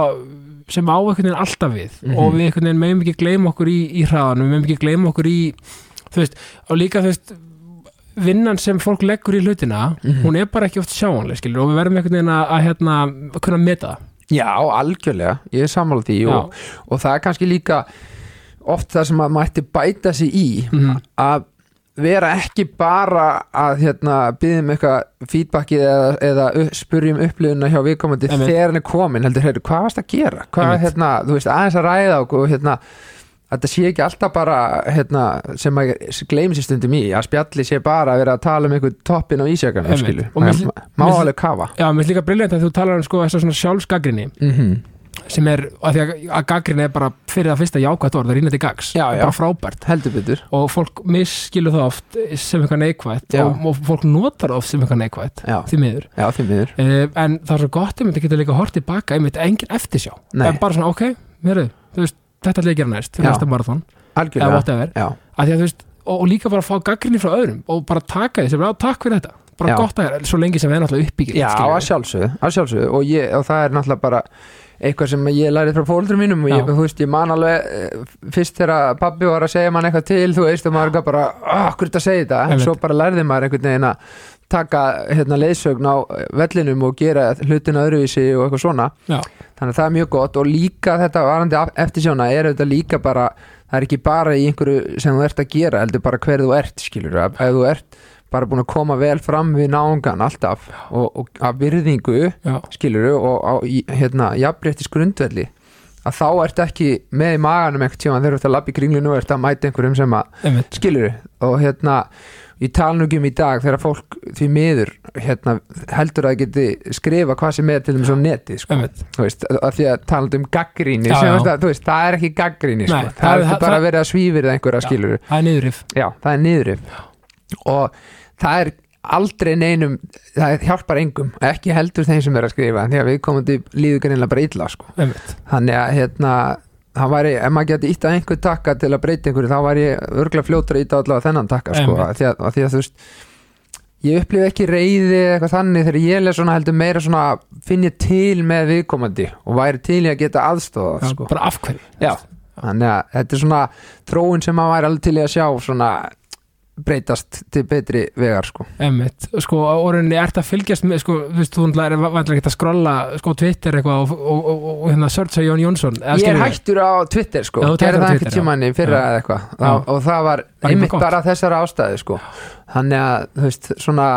[SPEAKER 1] sem á einhvern veginn alltaf við
[SPEAKER 2] Mhm.
[SPEAKER 1] og við einhvern veginn meðum ekki gleyma okkur í, í hraðanum við meðum ekki gleyma okkur í þú veist, og líka þú veist vinnan sem fólk leggur í hlutina
[SPEAKER 2] Mhm.
[SPEAKER 1] hún er bara ekki oft sjáanleg skilur og við verðum einhvern veginn að, að hérna, að kunna meta það.
[SPEAKER 2] já, algjörlega, ég er sammála því
[SPEAKER 1] Já.
[SPEAKER 2] og, og það er kannski líka oft það sem maður mætti bæta sig í
[SPEAKER 1] Mhm.
[SPEAKER 2] að vera ekki bara að hérna, byggðum eitthvað feedbackið eða, eða upp- spyrjum upplifuna hjá viðkomandi
[SPEAKER 1] Einmitt.
[SPEAKER 2] þegar hann er komin heldur, heyrðu, hvað varst að gera? Hvað,
[SPEAKER 1] Einmitt.
[SPEAKER 2] hérna, þú veist, aðeins að ræða okkur hérna, að þetta sé ekki alltaf bara hérna, sem að gleymi sér stundum í að spjalli sé bara að vera að tala um einhvern toppin á ísjakanum,
[SPEAKER 1] Einmitt.
[SPEAKER 2] skilu
[SPEAKER 1] Og mér finnst-
[SPEAKER 2] má
[SPEAKER 1] mér finnst-
[SPEAKER 2] alveg kafa
[SPEAKER 1] Já, mér er líka briljant að þú talar um sko þess svona sjálfsgagrinni
[SPEAKER 2] mm -hmm.
[SPEAKER 1] sem er, að því að, að gagrinni er bara fyrir það fyrsta jákvætt orð, það rýna til gags
[SPEAKER 2] Já, já.
[SPEAKER 1] bara frábært
[SPEAKER 2] heldur betur
[SPEAKER 1] og fólk misskilur það oft sem eitthvað neikvætt
[SPEAKER 2] Já.
[SPEAKER 1] og, og fólk notar það oft sem eitthvað neikvætt
[SPEAKER 2] já,
[SPEAKER 1] því miður
[SPEAKER 2] já því miður
[SPEAKER 1] uh, en það er svo gott um þetta getur líka hort tilbaka einmitt engin eftirsjá
[SPEAKER 2] Nei.
[SPEAKER 1] en bara svona ok, heru, veist, þetta ætla ég að gera næst fyrir
[SPEAKER 2] Já.
[SPEAKER 1] næsta marathon eða
[SPEAKER 2] algjörlega
[SPEAKER 1] whatever
[SPEAKER 2] já,
[SPEAKER 1] Af því að, þú veist, og, og líka bara að fá gaggrinni frá öðrum og bara taka því sem er á takk fyrir þetta bara
[SPEAKER 2] Já.
[SPEAKER 1] gott að gera, svo lengi sem við erum alltaf uppbyggjum
[SPEAKER 2] Já, að sjálfsögðu, að sjálfsögðu og, ég, og það er náttúrulega bara eitthvað sem ég lærið frá fólundrum mínum og ég,
[SPEAKER 1] Já.
[SPEAKER 2] þú veist, ég man alveg eh, fyrst þegar pabbi var að segja mann eitthvað til þú veist, og maður gaf bara, "Ah, af hverju þetta segir þetta en
[SPEAKER 1] Einmitt.
[SPEAKER 2] svo bara lærði maður einhvern veginn að taka hérna, leiðsögn á eh, vellinum og gera hlutin öðruvísi og eitthvað svona
[SPEAKER 1] Já.
[SPEAKER 2] þannig að það er mjög gott og líka þetta varandi af- eftirsjóna er þetta líka bara það er ekki bara í einhverju sem þú ert að gera heldur bara hver þú ert skilur ef ef þú ert bara búin að koma vel fram við náungan alltaf og, og að virðingu
[SPEAKER 1] Já.
[SPEAKER 2] skilur og á, í, hérna, jafnréttis grundvelli að þá ert ekki með í maganum einhvern tíma þegar þú ert að labba í kringlinu og ert að mæta einhverjum sem að
[SPEAKER 1] einmitt,
[SPEAKER 2] skilur og hérna ég tala nú ekki um í dag þegar fólk því miður hérna, heldur að það geti skrifa hvað sem er til þeim svo netið sko.
[SPEAKER 1] einmitt.
[SPEAKER 2] Þú veist, af því að tala um gaggríni
[SPEAKER 1] Já,
[SPEAKER 2] sem,
[SPEAKER 1] já.
[SPEAKER 2] já. Að, þú veist, það er ekki gaggríni sko.
[SPEAKER 1] Nei,
[SPEAKER 2] það, það er það, bara verið að svífir það einhverja
[SPEAKER 1] Já.
[SPEAKER 2] skilur
[SPEAKER 1] það er niðurrif
[SPEAKER 2] já, það er niðurif og það er aldrei neinum það hjálpar engum, ekki heldur þeim sem er að skrifa því að við komum til líður greinlega bara illa sko.
[SPEAKER 1] einmitt.
[SPEAKER 2] þannig að hérna það væri, ef maður geti ítt að einhver takka til að breyta einhverju, þá væri ég örgla fljótur að ítta allavega þennan takka sko,
[SPEAKER 1] Einmitt.
[SPEAKER 2] að því, að, að því að þú veist ég upplifi ekki reyði eða eitthvað þannig þegar ég les svona heldur meira svona finn ég til með viðkomandi og væri til í að geta aðstofa
[SPEAKER 1] Já,
[SPEAKER 2] sko.
[SPEAKER 1] bara af hverju
[SPEAKER 2] Já, þannig að þetta er svona þróun sem maður væri alveg til í að sjá svona breytast til betri vegar sko.
[SPEAKER 1] Emmitt, sko, orðinni ert að fylgjast með, sko, þú veist, þú náttúrulega er vantilega ekki að skrolla, sko, Twitter eitthvað og, og, og, og hérna, searcha Jón Jónsson eða
[SPEAKER 2] Ég er
[SPEAKER 1] skilurðu?
[SPEAKER 2] hættur á Twitter sko,
[SPEAKER 1] Já, þú ert hættur á
[SPEAKER 2] gerði það
[SPEAKER 1] Twitter,
[SPEAKER 2] einhvern tímann í fyrra
[SPEAKER 1] Já.
[SPEAKER 2] eða eitthvað
[SPEAKER 1] Já.
[SPEAKER 2] og, og það var
[SPEAKER 1] Bara
[SPEAKER 2] einmitt
[SPEAKER 1] gott.
[SPEAKER 2] bara þessar ástæði sko. þannig að þú veist svona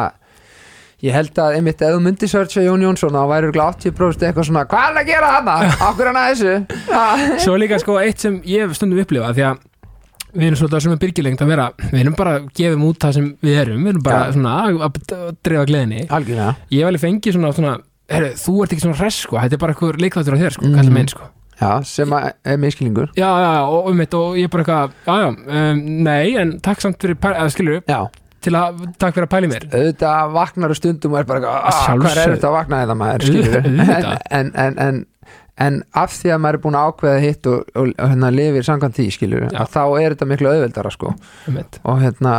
[SPEAKER 2] ég held að einmitt ef þú myndir searcha Jón Jónsson þá væri örugglega 80% eitthvað svona hvað er að gera hana, okkur hann að þessu Já.
[SPEAKER 1] Svo er líka, sko, eitt sem ég hef stundum upplifað því að við erum svolítið á sömu byrgilengt að vera, við erum bara að gefum út það sem við erum, við erum bara
[SPEAKER 2] Já.
[SPEAKER 1] svona að, að, að dreifa gleðinni.
[SPEAKER 2] algjörlega
[SPEAKER 1] Ég hef alveg fengið svona, svona herru, þú ert ekki svona hress, sko, þetta er bara eitthvað leikþáttur á þér, sko,
[SPEAKER 2] Mhm.
[SPEAKER 1] mm. kallar meinn, sko.
[SPEAKER 2] Já, sem að er miskilingur
[SPEAKER 1] Já, já, já, og um og ég er bara eitthvað, já, já, um, nei, en takk samt fyrir, pæ- eða skilur,
[SPEAKER 2] Já,
[SPEAKER 1] til að, takk fyrir að pæli mér.
[SPEAKER 2] auðvitað vaknar og stundum og er bara eitthvað, "Ah,
[SPEAKER 1] Sjálfsögðu.
[SPEAKER 2] hvað er auðvitað að vakna þetta maður skilurðu?"
[SPEAKER 1] Auðvitað.
[SPEAKER 2] en, en, en, en af því að maður er búin að ákveða hitt og, og, og hérna, lifir samkvæmt því skilur
[SPEAKER 1] Já.
[SPEAKER 2] þá er þetta miklu auðveldara sko.
[SPEAKER 1] Einmitt.
[SPEAKER 2] og hérna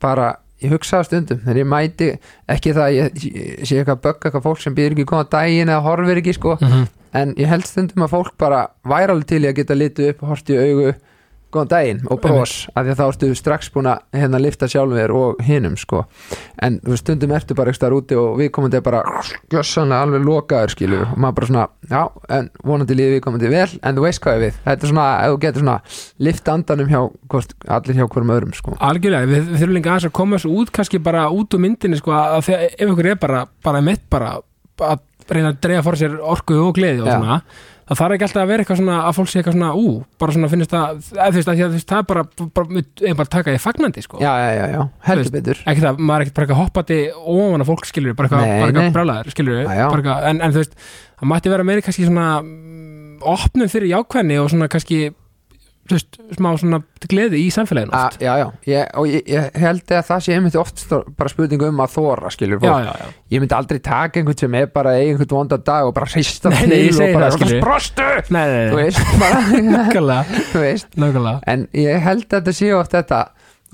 [SPEAKER 2] bara ég hugsaði stundum þegar ég mæti ekki það að ég, ég sé eitthvað að bögga eitthvað fólk sem býður ekki að koma á daginn eða horfir ekki sko
[SPEAKER 1] Mm -hmm.
[SPEAKER 2] en ég held stundum að fólk bara væri alveg til í að geta litið upp og hort í augu góðan daginn og bros af því að þá ertu strax búin að hérna lifta sjálfum þér og hinum sko en þú veist, stundum ertu bara ekki staðar úti og viðkomandi er bara gjössanlega alveg lokaður skilu og maður bara svona, já, en vonandi líði viðkomandi vel en þú veist hvað ég við, þetta er svona ef þú getur svona lift andanum hjá hvort, allir hjá hverjum öðrum sko
[SPEAKER 1] Algjörlega, við, við þurfum líka aðeins að koma þessu út kannski bara út úr myndinni sko, að þegar, ef ykkur er bara, bara mitt bara að reyna að dreja fór sér orku og gleði og
[SPEAKER 2] Já.
[SPEAKER 1] svona það þarf ekki alltaf að vera eitthvað svona að fólk sé eitthvað svona ú, bara svona finnist það eða þú veist að því að þú veist, það er bara, bara, er bara að taka því fagnandi sko
[SPEAKER 2] já, já, já, já,
[SPEAKER 1] Þú veist,
[SPEAKER 2] heldur betur
[SPEAKER 1] ekki það, maður er ekkert bara eitthvað hoppandi ofan að fólk skilur, bara eitthvað,
[SPEAKER 2] Nei,
[SPEAKER 1] bara
[SPEAKER 2] nei.
[SPEAKER 1] eitthvað brálaður skilur,
[SPEAKER 2] Já, já.
[SPEAKER 1] bara eitthvað, en, en þú veist það mætti vera meiri kannski svona mm, opnum fyrir jákvæðni og svona kannski þú veist, smá svona gleði í samfélaginu
[SPEAKER 2] A,
[SPEAKER 1] oft.
[SPEAKER 2] já, já, ég, og ég, ég held að það sé einmitt oft stó- bara spurningu um að þóra skilur
[SPEAKER 1] já, já, já
[SPEAKER 2] ég myndi aldrei taka einhvern sem er bara að eiga einhvern vonda dag og bara hrista
[SPEAKER 1] Nei,
[SPEAKER 2] til
[SPEAKER 1] nei, ég
[SPEAKER 2] og
[SPEAKER 1] segi
[SPEAKER 2] bara
[SPEAKER 1] það, Eh. skilur.
[SPEAKER 2] sprostu
[SPEAKER 1] Nei, nei, nei,
[SPEAKER 2] þú veist, bara,
[SPEAKER 1] nákvæmlega,
[SPEAKER 2] þú veist
[SPEAKER 1] nákvæmlega
[SPEAKER 2] en ég held að þetta sé oft þetta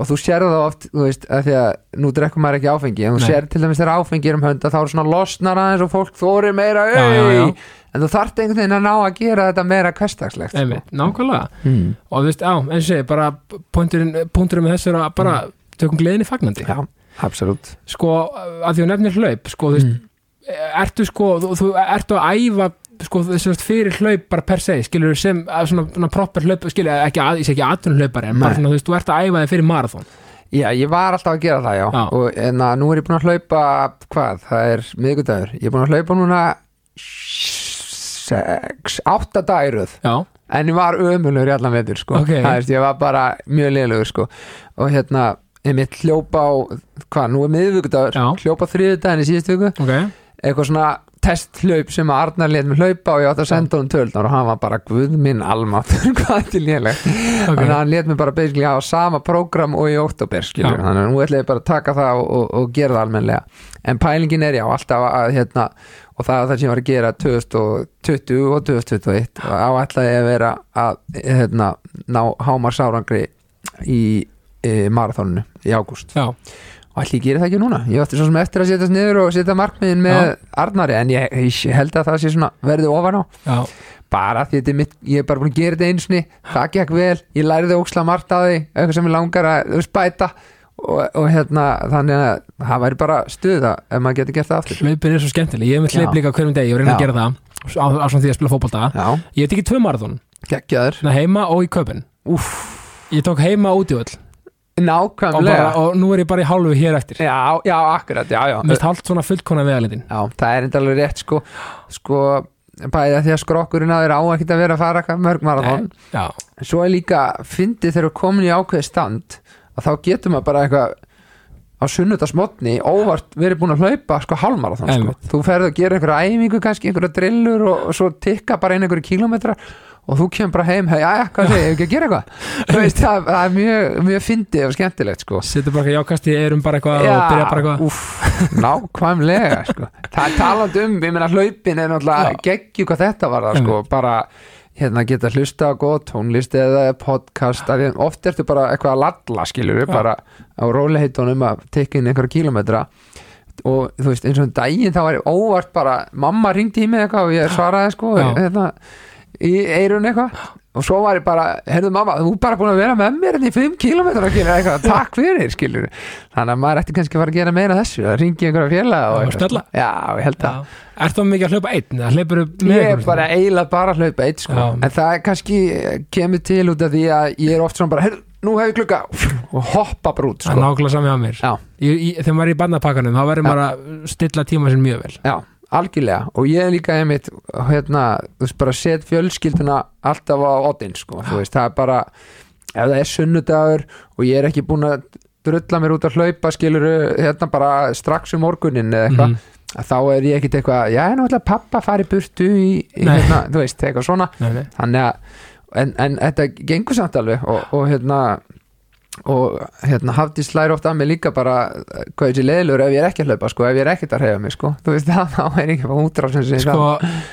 [SPEAKER 2] og þú sér það oft, þú veist, að því að nú drekkum maður ekki áfengi, en þú
[SPEAKER 1] Nei.
[SPEAKER 2] sér til dæmis þegar áfengi er um hönda, þá eru svona losnar aðeins og fólk þóri meira,
[SPEAKER 1] Já, já, já.
[SPEAKER 2] "Ey!" en þú þarft einhvern veginn að ná að gera þetta meira hversdagslegt sko.
[SPEAKER 1] Einmitt, nákvæmlega
[SPEAKER 2] hmm.
[SPEAKER 1] og þú veist, á, eins og segja, bara punkturinn punkturinn með þessu er að bara tökum gleðinni fagnandi
[SPEAKER 2] Mm. já, absolutt
[SPEAKER 1] sko, að því að nefnir hlaup sko, þú veist,
[SPEAKER 2] Mm.
[SPEAKER 1] ertu sko þú, þú ertu að æfa sko, þessast fyrir hlaup bara per se, skilur sem að svona, svona proper hlaup, skilur ekki, að, ég sé ekki atun hlaupari, en bara
[SPEAKER 2] Nei.
[SPEAKER 1] svona, þú veist, þú ert að æfa þig fyrir marathon
[SPEAKER 2] Já, ég var alltaf að gera það, já,
[SPEAKER 1] Já.
[SPEAKER 2] Og, en að nú er ég búin að hlaupa hvað, það er miðgudagur ég er búin að hlaupa núna 6, 8 dagiröð
[SPEAKER 1] já,
[SPEAKER 2] en ég var ömulur í allan vetur sko.
[SPEAKER 1] Ok.
[SPEAKER 2] það veist, ég var bara mjög lélugur sko. og hérna, ég mitt hljópa á, hvað, nú er miðvíkudagur
[SPEAKER 1] Já.
[SPEAKER 2] hljópa þriðudaginn í síðustu viku
[SPEAKER 1] ok,
[SPEAKER 2] eitthvað svona testhlaup sem að Arnar let mér hlaupa og ég átti að senda honum tölnar og hann var bara guð minn almáttur hvað til lélegt
[SPEAKER 1] Ok.
[SPEAKER 2] þannig að hann let mér bara basically hafa sama prógram og í oktober
[SPEAKER 1] Já.
[SPEAKER 2] skilur þannig að nú ætla ég bara að taka það og, og, og gera það almennlega en pælingin er já alltaf að hérna og það er það sem ég var að gera 2020 og 2021 og áætlaði ég að vera að hérna, ná hámarsárangri í e, marathóninu í ágúst
[SPEAKER 1] já,
[SPEAKER 2] og allir gera það ekki núna ég átti svo sem eftir að setjast niður og setja markmiðin með
[SPEAKER 1] Já.
[SPEAKER 2] Arnari en ég, ég held að það sé svona verði ofan á
[SPEAKER 1] já,
[SPEAKER 2] bara því þetta er mitt, ég er bara búin að gera þetta einsni það gekk vel, ég læriði óksla margt að því eitthvað sem ég langar að þú veist, bæta og, og hérna þannig að það væri bara stuða ef maður getur gert það aftur
[SPEAKER 1] hlaupin er svo skemmtileg ég er með hlaup
[SPEAKER 2] Já.
[SPEAKER 1] líka á hverjum degi og reyna að
[SPEAKER 2] Já.
[SPEAKER 1] gera það á, á svona því að spila fótbolta
[SPEAKER 2] já,
[SPEAKER 1] ég hef tekið tvö marathon,
[SPEAKER 2] geggjaður
[SPEAKER 1] svona heima og í köpinn
[SPEAKER 2] Úff,
[SPEAKER 1] ég tók heima út í öll og,
[SPEAKER 2] nákvæmlega
[SPEAKER 1] bara, og nú er ég bara í hálfu hér eftir
[SPEAKER 2] já, já, akkurat, já, já
[SPEAKER 1] mest hálft svona fullkona vegalindin
[SPEAKER 2] Já, það er enda alveg rétt sko, sko bæði að því að skrokkurinn að þeir á ekkert að vera að fara eitthvað mörg marathon
[SPEAKER 1] já,
[SPEAKER 2] svo er líka fyndið þegar þú komin í ákveði stand að þá getur maður bara eitthvað á sunnudagsmotni óvart verið búin að hlaupa sko halmarathon sko.
[SPEAKER 1] Einmitt.
[SPEAKER 2] þú ferð að gera einhverja æfingu kannski einhverja drillur og, og svo tikka bara inn einhverju kílómetra og þú kemur bara heim hei, aðja, hvað segir, hefur ekki að gera eitthvað Þú veist, það, það er mjög, mjög fyndið og skemmtilegt sko
[SPEAKER 1] setur bara eitthvað jákast í erum bara eitthvað og byrja bara eitthvað
[SPEAKER 2] úff, nákvæmlega sko. það er taland um, ég meina hlaupin er náttúrulega
[SPEAKER 1] Já.
[SPEAKER 2] geggju hvað þetta var það sko, bara hérna geta hlusta á góð tónlist eða podcast, af því að oft ertu bara eitthvað að ladla skilur við,
[SPEAKER 1] Já.
[SPEAKER 2] bara á róliheitunum að tekja inn einhverja kílometra og þú veist, eins og um daginn þá var ég óvart bara, mamma ringdi í mig eitthvað og ég svaraði sko
[SPEAKER 1] Já.
[SPEAKER 2] hérna, í eirun eitthvað og svo var ég bara, heyrðu mamma, þú er bara búin að vera með mér hérna í 5 km eitthvað, takk fyrir, skilur þannig að maður ætti kannski að fara að gera meira af þessu að ringi einhverja félaga og
[SPEAKER 1] Já,
[SPEAKER 2] eitthvað,
[SPEAKER 1] spjalla.
[SPEAKER 2] sko. já, ég held að
[SPEAKER 1] Er það mikið að hlaupa einn? eða hleypurðu með
[SPEAKER 2] ég er
[SPEAKER 1] einhverjum?
[SPEAKER 2] bara eiginlega bara að hlaupa eitt sko.
[SPEAKER 1] Já.
[SPEAKER 2] en það er kannski eh, kemur til út af því að ég er oft svona bara, heyrðu, nú hef ég klukka og hoppa bara út
[SPEAKER 1] Það er
[SPEAKER 2] sko.
[SPEAKER 1] nákvæmlega samið á mér
[SPEAKER 2] já,
[SPEAKER 1] ég, ég, Þegar maður er í barnapakkanum þá verður
[SPEAKER 2] Já.
[SPEAKER 1] maður að stilla tíma sinn mjög vel
[SPEAKER 2] já, algjörlega og ég er líka einmitt hérna, þú veist, bara set fjölskylduna alltaf á oddinn, sko, þú veist, það er bara ef það er sunnudagur og ég er ekki búin að drulla mér út að hlaupa skilur, hérna bara strax um morgunin eða
[SPEAKER 1] Mhm.
[SPEAKER 2] eitthvað, að þá er ég ekkit eitthvað, já, nú ætla pappa að fara í burtu í, í
[SPEAKER 1] Nei.
[SPEAKER 2] hérna, þú veist, eitthvað svona
[SPEAKER 1] Nei, nei.
[SPEAKER 2] þannig að, en, en þetta gengur samt alveg og, og hérna og hérna hafði slæri oft að mig líka bara eh, hvað þessi leðilur ef ég er ekki að hlaupa sko, ef ég er ekkert að reyfa mig sko þú veist það, þá er ekki bara útrá sem segir
[SPEAKER 1] Sko,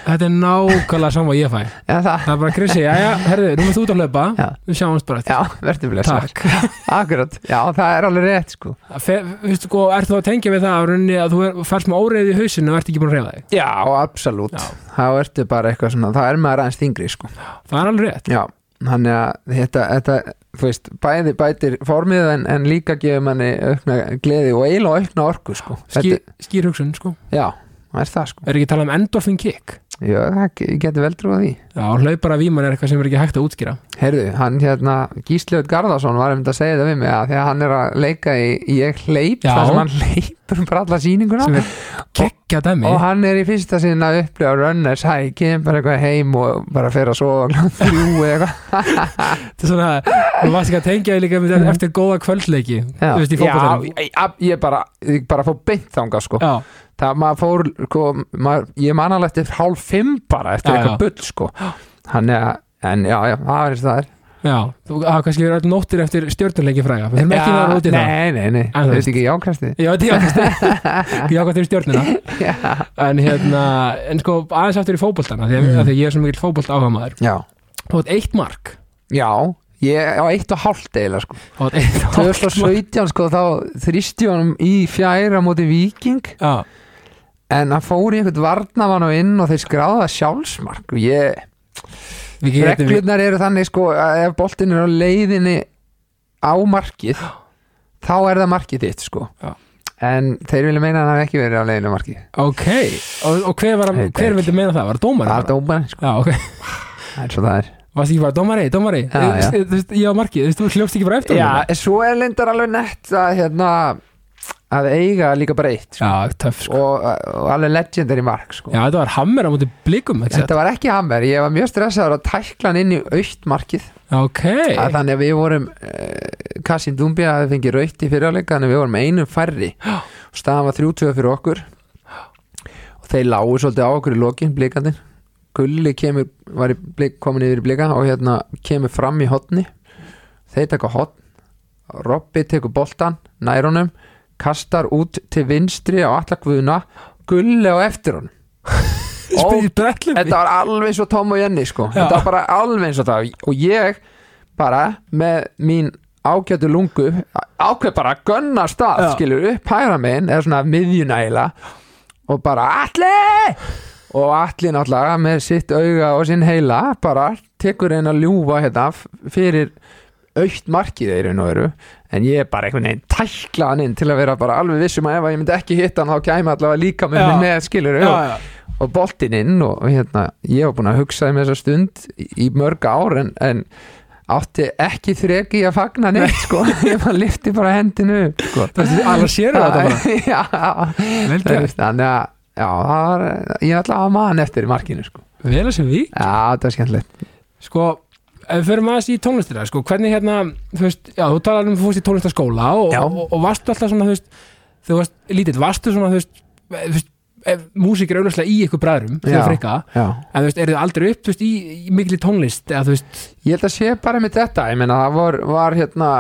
[SPEAKER 1] þetta er nákvæmlega saman og ég fæ
[SPEAKER 2] það en það,
[SPEAKER 1] Það er bara Krissi, jæja, herðu, nú maður þú út að hlaupa
[SPEAKER 2] Já.
[SPEAKER 1] Við sjáum hans bara
[SPEAKER 2] já,
[SPEAKER 1] eftir
[SPEAKER 2] verður blessa
[SPEAKER 1] Takk
[SPEAKER 2] akkurat, já, það er alveg rétt sko
[SPEAKER 1] Fe- Veistu, sko, ert þú að tengja við það að, rauninni að þú er, færst með óreiði í hausinu og ert ekki búin að reyða þig
[SPEAKER 2] já, absolutt,
[SPEAKER 1] Já.
[SPEAKER 2] þá ertu bara eitthvað svona það er maður aðeins þingri sko
[SPEAKER 1] Það er alveg rétt
[SPEAKER 2] Já, þannig að þetta, þetta þú veist, bæði bætir formið en, en líka gefur manni aukna gleði og eiginlega aukna orku sko.
[SPEAKER 1] Skýr, skýr hugsun, sko
[SPEAKER 2] já, það er það sko.
[SPEAKER 1] Er ekki að tala um endorphin kick
[SPEAKER 2] Já, það ge- ég geti vel trúið því.
[SPEAKER 1] Já, hlaupar af víman er eitthvað sem er ekki hægt að útskýra
[SPEAKER 2] Heyrðu, hann hérna, Gísliður Garðarsson var um þetta að segja þetta við mig að því að hann er að leika í, í ég hleyp,
[SPEAKER 1] Já.
[SPEAKER 2] það sem hann hleypur bara alla sýninguna
[SPEAKER 1] sem er geggja dæmi
[SPEAKER 2] og hann er í fyrsta sinna að upplifa runners high, kemur bara eitthvað heim og bara fer að sofa glóð þrjú eða eitthvað.
[SPEAKER 1] Þetta er svona, þú varst ekki að tengja þig líka með- eftir góða kvöldleiki
[SPEAKER 2] Mhm. Já,
[SPEAKER 1] Þú veist, í fótboltanum
[SPEAKER 2] já ég, ég bara, ég bara fór beint þangað sko.
[SPEAKER 1] Já,
[SPEAKER 2] það maður fór sko, maður, ég man alveg eftir hálf fimm bara eftir
[SPEAKER 1] Já,
[SPEAKER 2] eitthvað
[SPEAKER 1] já.
[SPEAKER 2] bull sko hann er, en já, já, það er eins og það er
[SPEAKER 1] já, þú það kannski verið öll nóttir eftir stjórnuleiki fræga Við erum ekki
[SPEAKER 2] Já,
[SPEAKER 1] náður út í það
[SPEAKER 2] nei, nei,
[SPEAKER 1] En þú
[SPEAKER 2] nei, þú
[SPEAKER 1] veist.
[SPEAKER 2] veist ekki jákvæmsti
[SPEAKER 1] Já, þetta er jákvæmst Jákvæmst fyrir stjórnuna En hérna, en sko aðeins aftur í fótboltana Því að,
[SPEAKER 2] Mm.
[SPEAKER 1] mm. því að ég er svo mikill fótbolt áhuga maður
[SPEAKER 2] já,
[SPEAKER 1] Þú átt eitt mark
[SPEAKER 2] já, ég á eitt og hálft eiginlega sko,
[SPEAKER 1] Þú átt eitt hálft mark.
[SPEAKER 2] 2017 sko þá þrýsti honum í fjæra móti viking
[SPEAKER 1] Já,
[SPEAKER 2] en hann fór í einhvern varnamann og inn og þeir skráða sjálfsmark og ég,
[SPEAKER 1] við getum við
[SPEAKER 2] reglunar eru þannig sko að ef boltin er á leiðinni á markið þá er það markið þitt sko
[SPEAKER 1] Já.
[SPEAKER 2] en þeir vilja meina að hann hafi ekki verið á leiðinni á markið
[SPEAKER 1] Ok, og, og hver, var,
[SPEAKER 2] Veit
[SPEAKER 1] hver
[SPEAKER 2] ekki.
[SPEAKER 1] vildi meina það? Var það
[SPEAKER 2] það
[SPEAKER 1] dómari?
[SPEAKER 2] er dómarinn sko
[SPEAKER 1] Já, ok
[SPEAKER 2] það er svo það er
[SPEAKER 1] Varst ekki bara dómari, dómari
[SPEAKER 2] Já, já.
[SPEAKER 1] Þú veist, ég á markið, þú veist, þú hljófst ekki bara eftir honum?
[SPEAKER 2] já, en svo er lindar alveg nett að hérna að eiga líka bara eitt sko.
[SPEAKER 1] já, töff sko
[SPEAKER 2] og, og alveg legendary mark sko
[SPEAKER 1] Já, þetta var hammer á móti blikum, ekki satt?
[SPEAKER 2] Þetta var ekki hammer, ég var mjög stressaður að tækla hann inn í auktmarkið
[SPEAKER 1] Ok,
[SPEAKER 2] að þannig að við vorum uh, Kassin Dumbia hafði fengið raukt í fyrirleika þannig að við vorum einum færri og staðan var 30 fyrir okkur og þeir lágu svolítið á okkur í lokin blikandi Gulli kemur, var í blik, komin yfir í blika og hérna kemur fram í hotni þeir taka hotn Robby tekur boltan, nærunum kastar út til vinstri á alla guðuna, Gulli á eftir honum
[SPEAKER 1] spyrir brellum
[SPEAKER 2] þetta var alveg eins og Tom og Jenny sko.
[SPEAKER 1] Já.
[SPEAKER 2] þetta var bara alveg eins og það og ég bara með mín ágætu lungu ákveð bara að gunna stað
[SPEAKER 1] Já.
[SPEAKER 2] skilur upp hægra megin eða svona miðjunæla og bara allir og allir náttúrulega með sitt auga og sinn heila bara tekur einn að ljúfa hérna f- fyrir aukt markið þeir nú eru en ég er bara einhvern veginn tækla hann inn til að vera bara alveg vissum að ef að ég myndi ekki hitta hann þá kæmi allavega líka með
[SPEAKER 1] Já.
[SPEAKER 2] mig með skilur
[SPEAKER 1] já, já.
[SPEAKER 2] og boltinn inn og hérna, ég var búin að hugsa um þessa stund í, í mörg ár en, en átti ekki þreki að fagna neitt sko, ég bara lifti bara hendinu upp, sko.
[SPEAKER 1] Þessi, alla sér þetta bara
[SPEAKER 2] já,
[SPEAKER 1] Vel gert.
[SPEAKER 2] þannig að já, það var, ég ætla að mann eftir í markinu sko.
[SPEAKER 1] Vel að sem við
[SPEAKER 2] já, það var skemmtilegt
[SPEAKER 1] Sko, ef við förum aðeins í tónlistina sko, Hvernig hérna, þú veist Já, þú talar um að þú fórst í tónlistaskóla og,
[SPEAKER 2] Já.
[SPEAKER 1] og, og varstu alltaf svona, þú veist Þegar Þú varst lítill, varstu svona, þú veist, eh, þú veist ef, Músík er auðvitað í ykkur bræðrum
[SPEAKER 2] Já.
[SPEAKER 1] Þegar frikka
[SPEAKER 2] já.
[SPEAKER 1] En þú veist, eru þið aldrei upp, þú veist, í, í mikli tónlist Eða þú veist,
[SPEAKER 2] ég held að sé bara með þetta ég meina, það var, var hérna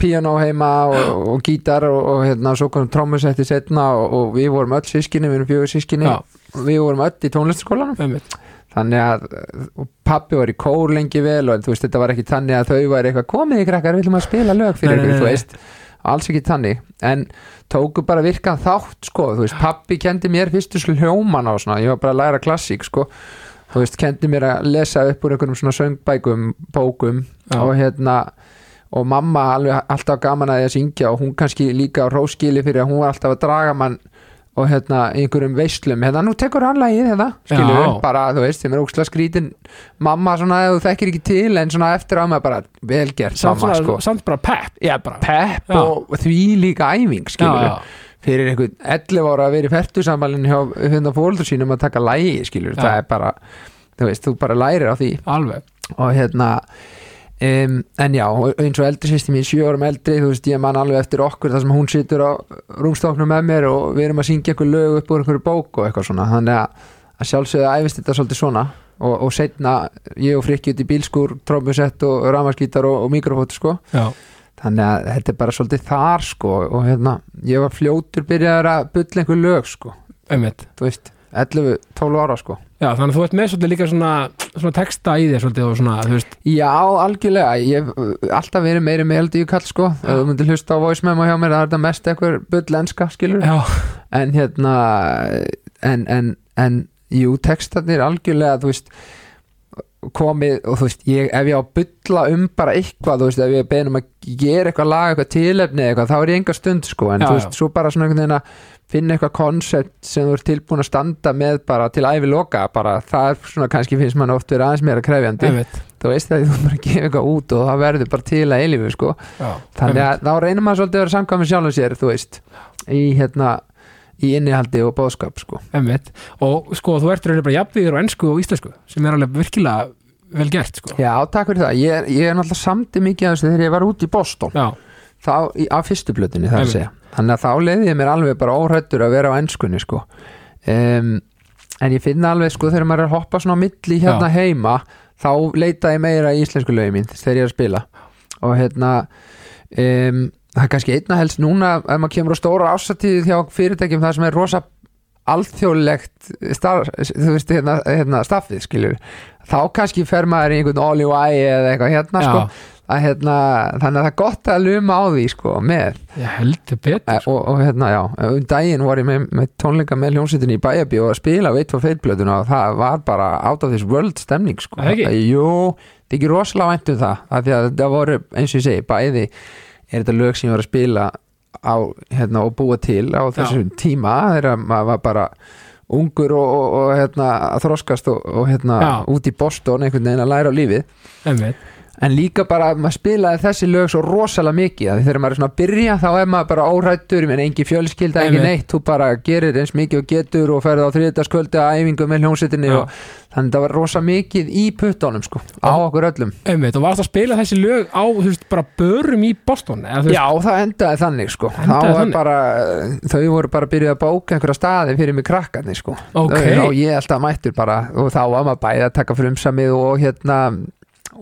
[SPEAKER 2] piano heima og, og gítar og, og hérna, svo kom trommusetti setna og, og við vorum öll sískinni, við erum fjögur sískinni
[SPEAKER 1] Já.
[SPEAKER 2] við vorum öll í tónlistaskólanum
[SPEAKER 1] einmitt.
[SPEAKER 2] þannig að eh, og pappi var í kór lengi vel og þú veist, þetta var ekki þannig að þau var eitthvað komið í krakkar, við viljum að spila lög fyrir
[SPEAKER 1] Nei, nei,
[SPEAKER 2] ykkur, þú
[SPEAKER 1] nei,
[SPEAKER 2] veist alls ekki þannig, en tóku bara virkan þátt, sko, þú veist, pappi kendi mér fyrstu sljóman á svona, ég var bara að læra klassík, sko, þú veist, kendi mér að lesa upp úr einhverjum svona söngbækum bókum
[SPEAKER 1] Já.
[SPEAKER 2] og hérna og mamma alveg alltaf gaman að því að syngja og hún kannski líka á róskili fyrir að hún var alltaf að draga mann og hérna í einhverjum veislum, hérna nú tekur hann lagið hérna, skilur
[SPEAKER 1] Já.
[SPEAKER 2] bara, þú veist, þeim er óksla skrítin mamma svona, ef þú þekkir ekki til en svona eftir á maður bara, velgert
[SPEAKER 1] samt, svona,
[SPEAKER 2] mamma, sko
[SPEAKER 1] samt bara pepp
[SPEAKER 2] Já, bara pepp
[SPEAKER 1] Já.
[SPEAKER 2] og því líka æfing skilur
[SPEAKER 1] já,
[SPEAKER 2] fyrir einhvern 11 ára að vera í fertusambalin hjá hérna fóldur sínum að taka lægi skilur,
[SPEAKER 1] Já.
[SPEAKER 2] það er bara þú veist, þú bara lærir á því
[SPEAKER 1] alveg
[SPEAKER 2] og hérna um, en já, og eins og eldri sýsti mín sjö árum eldri, þú veist, ég man alveg eftir okkur þar sem hún situr á rúmstoknum með mér og við erum að syngja eitthvað lög upp úr einhverju bók og eitthvað svona, þannig að, að sjálfsögðu æfist þetta svolítið svona og, og setna ég og frikki út í bílskur, trómusett og ramaskítar og, og mikrofót sko
[SPEAKER 1] já,
[SPEAKER 2] þannig að þetta er bara svolítið þar sko og hérna, ég var fljótur byrjaður að bulla einhver lög sko,
[SPEAKER 1] einmitt
[SPEAKER 2] þú veist 11-12 ára sko
[SPEAKER 1] Um Já, þannig að þú ert með svolítið líka svona, svona texta í þér svolítið og svona, þú veist,
[SPEAKER 2] Já, algjörlega, ég hef uh, alltaf verið meiri með LDU kall sko, ef þú myndir hlusta á voice memo hjá mér, það er þetta mest eitthvað bullenska skilur,
[SPEAKER 1] já,
[SPEAKER 2] en hérna en, en, en jú, textarnir algjörlega, þú veist komið og þú veist ég, ef ég á að bulla um bara eitthvað þú veist, ef ég beðin um að gera eitthvað lag eitthvað tilefni eða eitthvað, þá er ég enga stund sko en
[SPEAKER 1] Já,
[SPEAKER 2] þú veist,
[SPEAKER 1] já.
[SPEAKER 2] svo bara svona einhvern veginn að finna eitthvað koncept sem þú ert tilbúin að standa með bara til ævi loka, bara það er svona kannski finnst mann oft verið aðeins meira krefjandi
[SPEAKER 1] einmitt
[SPEAKER 2] þú veist að þú bara gefur eitthvað út og það verður bara til að eilifu sko
[SPEAKER 1] Já,
[SPEAKER 2] þannig að þá reynir maður svolítið að vera samkvæmur sjálfum sér þú veist, í hérna í innihaldi og bóðskap sko
[SPEAKER 1] einmitt Og sko, þú ert reyndar bara jafnvíður á ennsku og íslensku sem er alveg virkilega vel gert, sko
[SPEAKER 2] já, takk fyrir það, ég, ég er náttúrulega samti mikið af þessu þegar ég var út í Boston
[SPEAKER 1] Já,
[SPEAKER 2] þá, í, á fyrstu blötunni það að
[SPEAKER 1] Einmitt.
[SPEAKER 2] segja þannig að þá leiði ég mér alveg bara óhrættur að vera á ennskunni sko um, en ég finna alveg sko þegar maður er að hoppa svona á milli hérna heima þá leita ég meira í íslensku lögum mín þegar ég er að spila og hérna um, það er kannski einna helst núna ef maður kemur á stóra ásatíði hjá fyrirtækjum það sem er rosa alþjóðlegt star, þú veist, hérna, hérna staffið skilur, þá kannski fer maður í einhvern all you eye eða eitthvað hérna sko,
[SPEAKER 1] já,
[SPEAKER 2] að, hérna, þannig að það er gott að luma á því sko, með
[SPEAKER 1] ég heldur betur
[SPEAKER 2] og, og hérna, já, um daginn var ég með, með tónleika með hljónsettin í Bæjabí og að spila á 1-2 blöðuna og það var bara out of this world stemning sko.
[SPEAKER 1] Er það ekki?
[SPEAKER 2] Jú, það er ekki rosalega vænt um það af því að það voru, eins og ég segi, bæði er þetta lög sem ég var að spila á, hérna, og búa til á þessum tíma þegar maður var bara ungur og, og, og hérna, að þroskast og, og hérna,
[SPEAKER 1] Já.
[SPEAKER 2] út í Boston einhvern veginn að læra á lífið
[SPEAKER 1] Einmitt,
[SPEAKER 2] en líka bara að maður spilaði þessi lög svo rosalega mikið að þegar maður er svona að byrja þá er maður bara órættur, menn engin fjölskylda engin
[SPEAKER 1] Einmitt.
[SPEAKER 2] neitt, þú bara gerir eins mikið og getur og ferði á þriðdaskvöldi að æfingu með hljónsettinni
[SPEAKER 1] Já.
[SPEAKER 2] og þannig það var rosa mikið í puttunum sko, á okkur öllum
[SPEAKER 1] einmitt Og varst að spila þessi lög á, þú veist, bara börum í Boston eða, þú veist,
[SPEAKER 2] Já, það endaði þannig sko
[SPEAKER 1] Endaði
[SPEAKER 2] þá var
[SPEAKER 1] þannig?
[SPEAKER 2] bara, þau voru bara að byrja að bóka einhverja staði fyrir mig krakkarnir sko
[SPEAKER 1] Ok.
[SPEAKER 2] og ég alltaf mættur bara og þá var maður bæði að taka frumsamið og hérna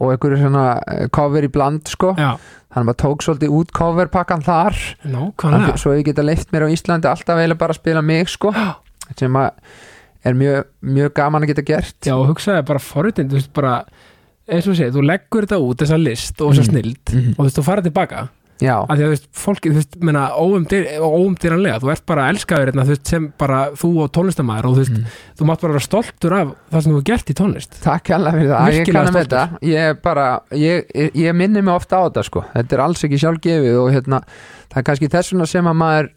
[SPEAKER 2] og einhverju svona eh, cover í bland sko
[SPEAKER 1] já,
[SPEAKER 2] þannig að maður tók svolítið út coverpakkan þar
[SPEAKER 1] nákvæmlega
[SPEAKER 2] svo ég geta leift mér á Íslandi alltaf eiginlega bara að spila mig sko sem að er mjög, mjög gaman að geta gert
[SPEAKER 1] Já, og hugsaði bara forritin, þú veist, bara eins og segið, þú leggur þetta út þessa list og þessa
[SPEAKER 2] Mm.
[SPEAKER 1] snild
[SPEAKER 2] Mhm.
[SPEAKER 1] og þú veist, þú fara tilbaka
[SPEAKER 2] já,
[SPEAKER 1] að því að þú veist, fólki, þú veist, menna óumdýranlega, þú ert bara elskaður hérna, þú veist, sem bara þú og tónlistamæður og þú
[SPEAKER 2] Mm.
[SPEAKER 1] veist, þú mátt bara vera stoltur af það sem þú hefur gert í tónlist
[SPEAKER 2] takk hella fyrir það ég
[SPEAKER 1] Virkilega
[SPEAKER 2] kannan með
[SPEAKER 1] stoltur.
[SPEAKER 2] þetta ég, bara, ég, ég- ég minni mig ofta á þetta sko. þetta er alls ekki sjálfgefið og hérna, það er kannski þess vegna sem að maður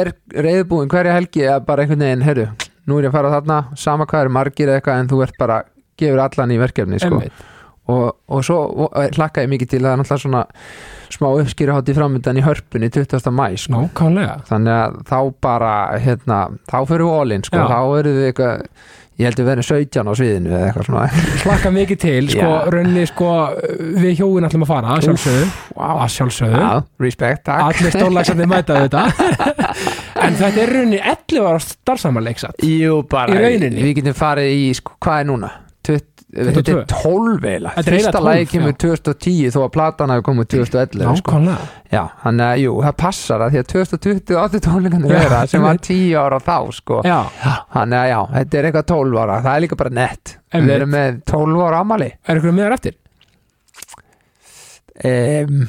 [SPEAKER 2] er reyðbúin hverja helgi að bara einhvern veginn, herru, nú er ég að fara þarna sama hvað eru margir eða eitthvað en þú ert bara gefur allan í verkefni sko.
[SPEAKER 1] Einmitt.
[SPEAKER 2] og, og svo og, eh, hlakka ég mikið til að það er náttúrulega svona smá uppskýrahátti framöndan í hörpunni 20. mæ sko.
[SPEAKER 1] nákvæmlega
[SPEAKER 2] þannig að þá bara hérna, þá fyrir við all-in sko.
[SPEAKER 1] Já.
[SPEAKER 2] þá eru við eitthvað ég held við verðum 17 á sviðinu eða eitthvað svona
[SPEAKER 1] slakka mikið til, sko,
[SPEAKER 2] Já.
[SPEAKER 1] raunni, sko við hjóin ætlum að fara, að sjálfsögðu
[SPEAKER 2] wow.
[SPEAKER 1] að sjálfsögðu,
[SPEAKER 2] Já, respect, takk
[SPEAKER 1] allir stólagsandi mæta þetta en þetta er raunni 11 ára starfsamar leiksatt
[SPEAKER 2] Jú, bara,
[SPEAKER 1] Í rauninni.
[SPEAKER 2] við getum farið í, sko, hvað er núna? 20, þetta er
[SPEAKER 1] 22.
[SPEAKER 2] 12 eiginlega,
[SPEAKER 1] Þetta er eiginlega
[SPEAKER 2] fyrsta lagi
[SPEAKER 1] 12,
[SPEAKER 2] kemur 2010 þó að platan hafi komið 2011 sko.
[SPEAKER 1] nákvæmlega
[SPEAKER 2] Já, þannig að jú, það passar að því að 2020 átti tónleikandu
[SPEAKER 1] Já,
[SPEAKER 2] vera sem var
[SPEAKER 1] einmitt.
[SPEAKER 2] 10 ára þá sko.
[SPEAKER 1] já,
[SPEAKER 2] Þannig að já, þetta er eitthvað 12 ára, það er líka bara nett Við
[SPEAKER 1] Einmitt.
[SPEAKER 2] erum með 12 ára ammali
[SPEAKER 1] er ykkur meðar eftir?
[SPEAKER 2] um,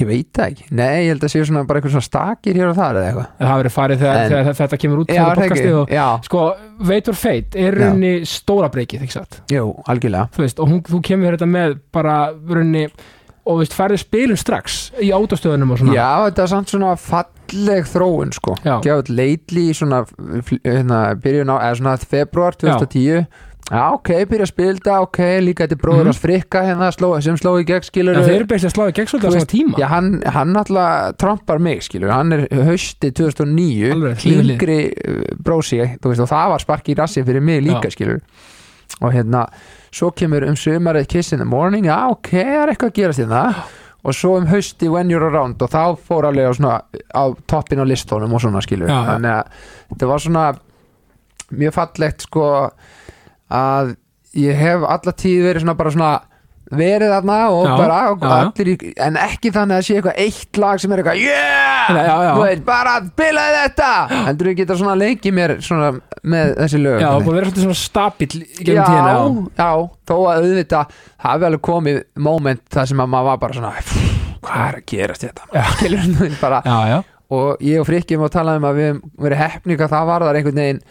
[SPEAKER 2] Ég veit það ekki, nei, ég held að séu svona bara eitthvað svona stakir hér og þar eða eitthvað
[SPEAKER 1] það hafa verið farið þegar,
[SPEAKER 2] En-
[SPEAKER 1] þegar þetta kemur út
[SPEAKER 2] Já,
[SPEAKER 1] þegar
[SPEAKER 2] það ekki,
[SPEAKER 1] podcastið og
[SPEAKER 2] já,
[SPEAKER 1] sko, veitur feit er
[SPEAKER 2] Já.
[SPEAKER 1] raunni stóra breykið, ekki satt
[SPEAKER 2] jú, algjörlega
[SPEAKER 1] þú veist, og hún, þú kemur þetta með bara raunni, og þú veist, færðu spilum strax í átastöðunum og svona
[SPEAKER 2] Já, þetta er samt svona falleg þróun sko.
[SPEAKER 1] Já.
[SPEAKER 2] Gjátt leitli í svona fl- hérna, byrjun á, eða svona februar 2010 Já. ok, byrja að spilda, ok, líka þetta er bróður
[SPEAKER 1] Mhm.
[SPEAKER 2] hans frikka hérna sló, sem sló í gegn skilur
[SPEAKER 1] en þeir eru beist að slá í gegn
[SPEAKER 2] Þú
[SPEAKER 1] svolítið á
[SPEAKER 2] veist,
[SPEAKER 1] svona tíma
[SPEAKER 2] Já, hann, hann alltaf trompar mig skilur, hann er hausti 2009
[SPEAKER 1] Alveg, hlið við hlið.
[SPEAKER 2] yngri uh, brósi, þú veist, og það var sparki í rassin fyrir mig líka
[SPEAKER 1] Já.
[SPEAKER 2] skilur og hérna, svo kemur um sömarið Kiss in the Morning, já ok, það er eitthvað að gerast hérna og svo um hausti When You're Around og þá fór alveg á, svona, á toppin á listónum og svona skilur
[SPEAKER 1] Já, já.
[SPEAKER 2] þannig að þetta var svona mjög fallegt sko að ég hef alla tíð verið svona bara svona verið þarna og
[SPEAKER 1] Já,
[SPEAKER 2] bara og
[SPEAKER 1] já, já.
[SPEAKER 2] allir í, en ekki þannig að sé eitthvað eitt lag sem er eitthvað yeah,
[SPEAKER 1] Já, já, já.
[SPEAKER 2] Þú veit, bara bilaði þetta heldur þú geta svona leikið mér svona með þessi lög
[SPEAKER 1] já, og búið að vera svolítið svona stabill í
[SPEAKER 2] já,
[SPEAKER 1] gegnum tíðina og-
[SPEAKER 2] já, þó að auðvitað hafi alveg komið moment þar sem að maður var bara svona "Pff, hvað er að gerast þetta Skilur þú, bara,
[SPEAKER 1] já, já,
[SPEAKER 2] og ég og Frikki má tala um að við höfum verið heppni hvað það varðar einhvern veginn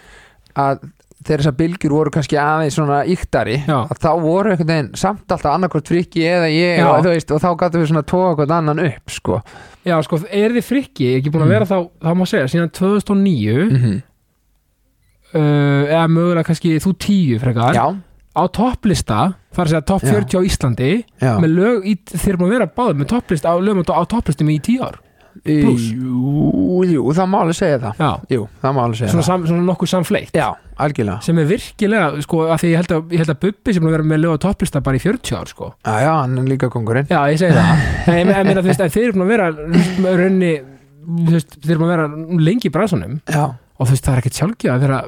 [SPEAKER 2] að þegar þessar bylgjur voru kannski aðeins svona yktari
[SPEAKER 1] Já.
[SPEAKER 2] að þá voru einhvern veginn samt alltaf annarkvort Frikki eða ég
[SPEAKER 1] Já.
[SPEAKER 2] og, þú veist, og þá gáttum við svona tóa hvern annan upp sko.
[SPEAKER 1] já, sko, er þið frikki ekki
[SPEAKER 2] Mm.
[SPEAKER 1] búin að vera þá, þá má segja, síðan 2009
[SPEAKER 2] -hmm.
[SPEAKER 1] uh, eða mögulega kannski þú tíu frekar
[SPEAKER 2] já,
[SPEAKER 1] á topplista, það er að segja topp
[SPEAKER 2] Já.
[SPEAKER 1] 40 á Íslandi
[SPEAKER 2] já.
[SPEAKER 1] með lög, í, þeir eru búin að vera báðið með topplist á lögum á topplistum í tíu ár plús.
[SPEAKER 2] jú, jú, það má alveg segja það
[SPEAKER 1] já,
[SPEAKER 2] jú, það má alveg segja
[SPEAKER 1] svona, sam, svona nokkuð samfleitt
[SPEAKER 2] það já, algjörlega
[SPEAKER 1] sem er virkilega, sko, að því ég held að, ég held að Bubbi sem er búinn að vera með lög á topplista bara í 40 ár, sko
[SPEAKER 2] já, já, hann er líka kongurinn
[SPEAKER 1] Já, ég segi það En ég, ég meina, þú veist, en þeir eru búin að vera með raunni, þú veist, þeir eru búin að vera lengi í bransunum
[SPEAKER 2] já,
[SPEAKER 1] og þú veist, það er ekkert sjálfgjöf að vera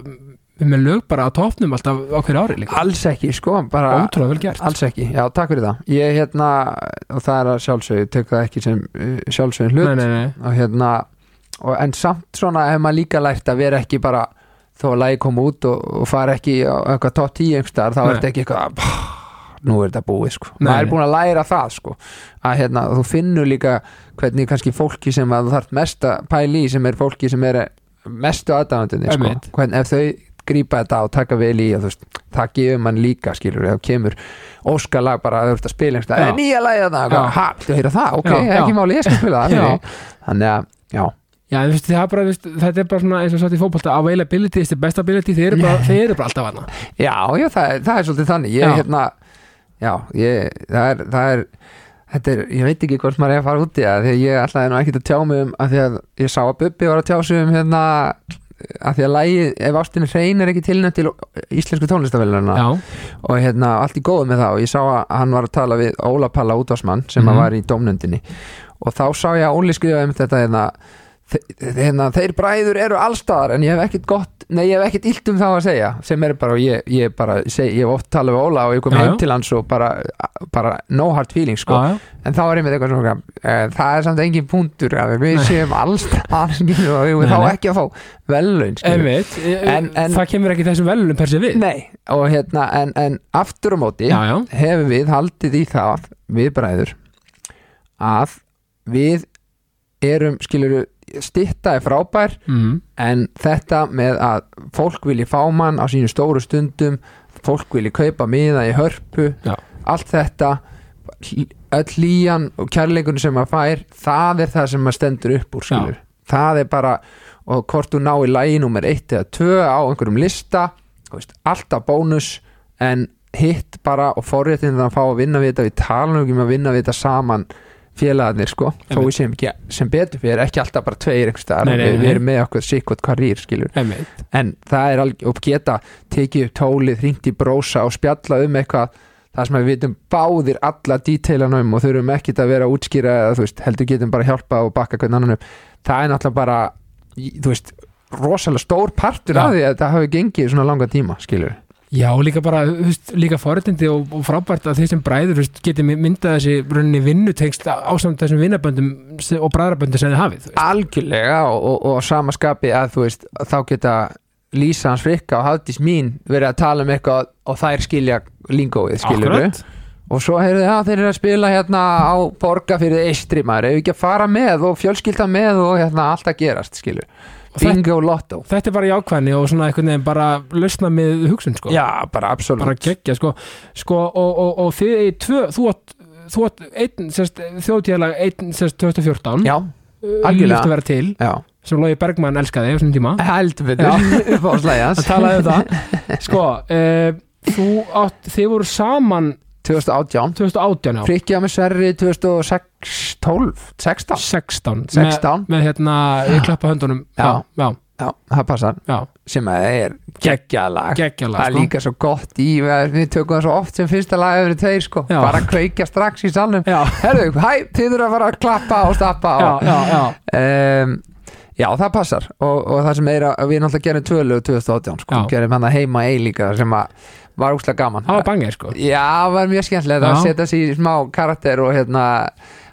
[SPEAKER 1] með lög bara á toppnum alltaf á hverju ári líka
[SPEAKER 2] alls ekki sko, bara
[SPEAKER 1] Ótrúlega vel gert
[SPEAKER 2] Alls ekki, já, takk fyrir það Ég hérna, og það er að sjálfsögðu Tek það ekki sem uh, sjálfsögðin hlut
[SPEAKER 1] Nei, nei, nei
[SPEAKER 2] og hérna og, en samt svona hef maður líka lært að vera ekki bara þó að lagi koma út og, og fara ekki á eitthvað top 10 einhverstaðar þá
[SPEAKER 1] Nei.
[SPEAKER 2] er þetta ekki eitthvað "Pah, nú er þetta búið sko
[SPEAKER 1] Nei,
[SPEAKER 2] maður
[SPEAKER 1] nei.
[SPEAKER 2] er búin að læra það sko að hérna, þú finnur líka hvernig kannski fólki sem að þú þarft mest að pæli í sem er fólki sem er mestu aðdáðandunni sko
[SPEAKER 1] Einmitt.
[SPEAKER 2] hvernig ef þau grípa þetta og taka vel í og þú veist, það gefur mann líka skilur þá kemur óskalag bara að þú ert að spila einhverstað,
[SPEAKER 1] Já.
[SPEAKER 2] er nýja lagið það
[SPEAKER 1] Já.
[SPEAKER 2] ha, þú heyra það, ok,
[SPEAKER 1] Já, já.
[SPEAKER 2] ekki máli ég skal spila það
[SPEAKER 1] Já.
[SPEAKER 2] fyrir þig." þannig að, já
[SPEAKER 1] Já, en þú veist, það er bara, þú veist, þetta er bara svona eins og satt í fótbolta availability is the best ability, þeir eru bara, þeir eru bara alltaf hana
[SPEAKER 2] Já, já, það er, það er svolítið þannig Ég,
[SPEAKER 1] Já.
[SPEAKER 2] hérna, já, ég, það er, það er Þetta er, ég veit ekki hvort maður er að fara út í það Þegar ég ætlaði nú ekkert að tjá mig um að Því að ég sá að Bubbi var að tjá sig um hérna að því að lægi, ef ástinni hrein er ekki tilnætt til íslensku tónlistafélagina
[SPEAKER 1] Já,
[SPEAKER 2] og hérna allt í góðu með það og ég sá að hann var að tala við Óla Palla útvarsmann sem
[SPEAKER 1] Mhm.
[SPEAKER 2] að var í dómnöndinni og þá sá ég að Óli skrifa um þetta hérna, þe- hérna þeir bræður eru allstaðar en ég hef ekkert gott Nei, ég hef ekkert illt um þá að segja sem er bara, ég, ég bara seg, ég hef oft talað við Óla og ég kom
[SPEAKER 1] Já, já.
[SPEAKER 2] heim til hans og bara, bara no hard feelings sko.
[SPEAKER 1] já,
[SPEAKER 2] en þá er einmitt eitthvað svona eh, það er samt engin punktur að við
[SPEAKER 1] Nei.
[SPEAKER 2] séum alls þar, skilur, og við
[SPEAKER 1] Nei,
[SPEAKER 2] erum þá
[SPEAKER 1] nei.
[SPEAKER 2] ekki að fá velun skilur.
[SPEAKER 1] einmitt, en,
[SPEAKER 2] sko. En- en-
[SPEAKER 1] það kemur ekki þessum velunum per se við
[SPEAKER 2] Nei, og hérna en, en aftur á móti
[SPEAKER 1] já, já,
[SPEAKER 2] hefur við haldið í það við bræður að við erum skilur stitta er frábær
[SPEAKER 1] mm,
[SPEAKER 2] en þetta með að fólk vilji fá mann á sínu stóru stundum fólk vilji kaupa miða í hörpu
[SPEAKER 1] Já.
[SPEAKER 2] allt þetta hl- öll líjan og kærleikunum sem maður fær það er það sem maður stendur upp úr skilur það er bara og hvort þú ná í lagi nummer 1 eða 2 á einhverjum lista þú veist, alltaf bónus en hitt bara og forréttin þannig að fá að vinna við þetta við talum ekki um að vinna við þetta saman félagarnir sko, þó
[SPEAKER 1] Einmitt.
[SPEAKER 2] við sem, ekki, sem betur fyrir ekki alltaf bara tveir einhvers staðar
[SPEAKER 1] Nei, nei,
[SPEAKER 2] við,
[SPEAKER 1] nei.
[SPEAKER 2] við erum með okkur sikkvot karýr skilur
[SPEAKER 1] einmitt
[SPEAKER 2] en það er alveg, og geta tekið upp tólið, hringt í brósa og spjalla um eitthvað það sem við vitum báðir alla díteilana um og þurfum ekkit að vera að útskýra eða þú veist, heldur getum bara að hjálpa og bakka hvernig annan upp, það er náttúrulega bara í- þú veist, rosalega stór partur
[SPEAKER 1] Já.
[SPEAKER 2] af því að það hafi gengið svona langa tíma, skilur
[SPEAKER 1] já, og líka bara, þú veist, líka forréttindi og, og frábært að þeir sem bræður þú veist, geti myndað þessi rauninni vinnutengst ásamt þessum vinnaböndum se- og bræðraböndum sem þið hafið þú veist.
[SPEAKER 2] algjörlega og, og, og á sama skapi að þú veist, þá geta Lísa hans frikka og Hafdís mín verið að tala um eitthvað og þær skilja lingóið, skilur
[SPEAKER 1] Akkurat.
[SPEAKER 2] og svo heyrðu það þeir eru að spila hérna á borga fyrir eistri maður ef ekki að fara með og fjölskylda með og hérna allt að gerast skilur
[SPEAKER 1] Og þetta-
[SPEAKER 2] bingo lotto
[SPEAKER 1] þetta er bara jákvæðni og svona einhvern veginn bara lausna með hugsun sko.
[SPEAKER 2] já bara absolutt
[SPEAKER 1] bara geggja sko, sko og, og, og þið eigið tvö, þú átt þú átt einn, sérst, þjóðtíðalag einn, sérst, 2014
[SPEAKER 2] Mm. já algjörlega.
[SPEAKER 1] líft að vera til,
[SPEAKER 2] já
[SPEAKER 1] sem Lógi Bergmann elskaði á þessum tíma,
[SPEAKER 2] held við það upp á
[SPEAKER 1] að
[SPEAKER 2] slæðans
[SPEAKER 1] talaði um það sko, uh, þú átt þið voru saman
[SPEAKER 2] 2018
[SPEAKER 1] 2018 já,
[SPEAKER 2] frikja með Sverri 2006 12 16
[SPEAKER 1] 16
[SPEAKER 2] 16.
[SPEAKER 1] með, með hérna, ég klappa höndunum
[SPEAKER 2] Já.
[SPEAKER 1] já,
[SPEAKER 2] já það passar
[SPEAKER 1] já, sko.
[SPEAKER 2] sem að það er geggjað lag
[SPEAKER 1] geggjalag
[SPEAKER 2] það er líka svo gott í við við tökum það svo oft sem fyrsta lag yfir tveir sko
[SPEAKER 1] Já.
[SPEAKER 2] bara kveikja strax í salnum
[SPEAKER 1] já,
[SPEAKER 2] herðu hæ þið eru að fara að klappa og stappa
[SPEAKER 1] já,
[SPEAKER 2] og
[SPEAKER 1] já, já,
[SPEAKER 2] um, Já, það passar og, og það sem er að við náttúrulega gerum tvölu 2018, sko,
[SPEAKER 1] Já.
[SPEAKER 2] gerum hann að heima ei líka sem að var úslega gaman
[SPEAKER 1] það var bangið sko
[SPEAKER 2] Já, var mjög skemmtilegt
[SPEAKER 1] Já.
[SPEAKER 2] að setja sig í smá karakter og hérna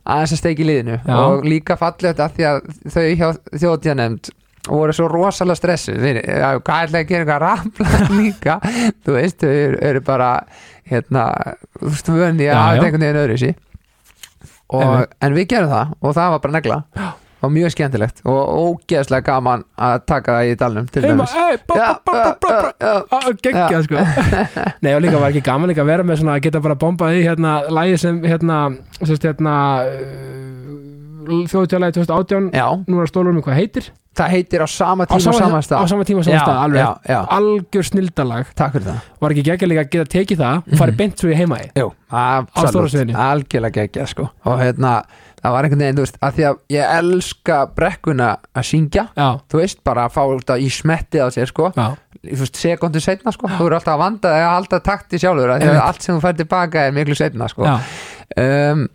[SPEAKER 2] aðeins að steiki liðinu
[SPEAKER 1] Já.
[SPEAKER 2] og líka fallegt að því að þau hjá þjóðtjánemnd voru svo rosalega stressu þeir, já, hvað ætlaði að gera eitthvað rafla líka þú veist, þau eru, eru bara hérna, þú veist, vönni
[SPEAKER 1] Já, já.
[SPEAKER 2] að hafa einhvern veginn öðru
[SPEAKER 1] Einmitt.
[SPEAKER 2] og, en við gerum það og það var bara negla og mjög skemmtilegt og ógeðslega gaman að taka það í dalnum til
[SPEAKER 1] heima,
[SPEAKER 2] dæmis
[SPEAKER 1] ei, bá, bá, bá, bá, bá, bá
[SPEAKER 2] já,
[SPEAKER 1] geggja sko Nei og líka var ekki gaman líka að vera með svona að geta bara bombað í hérna lægi sem hérna sérst hérna uh, þjóðutjálægi 2018
[SPEAKER 2] já,
[SPEAKER 1] nú er að stóla um hvað heitir
[SPEAKER 2] það heitir á sama tíma og sama
[SPEAKER 1] á
[SPEAKER 2] stað
[SPEAKER 1] sama tíma og sama
[SPEAKER 2] Já,
[SPEAKER 1] stað alveg
[SPEAKER 2] já, já.
[SPEAKER 1] algjör snildalag
[SPEAKER 2] Takk fyrir það
[SPEAKER 1] var ekki geggja líka að geta tekið
[SPEAKER 2] Mhm.
[SPEAKER 1] það og farið beint svo í heima í
[SPEAKER 2] Jú,
[SPEAKER 1] stóra
[SPEAKER 2] absolutt,
[SPEAKER 1] sviðinu.
[SPEAKER 2] algjörlega geggja sko. og hérna, það var einhvern veginn þú veist, að því að ég elska brekkuna að syngja,
[SPEAKER 1] Já,
[SPEAKER 2] þú veist, bara að fá þetta í smettið á sér, sko
[SPEAKER 1] já,
[SPEAKER 2] þú veist, sekundu setna, sko, þú eru alltaf að vanda að halda takti sjálfur, af því að
[SPEAKER 1] Einmitt.
[SPEAKER 2] allt sem þú fær tilbaka er miklu setna, sko
[SPEAKER 1] já
[SPEAKER 2] um,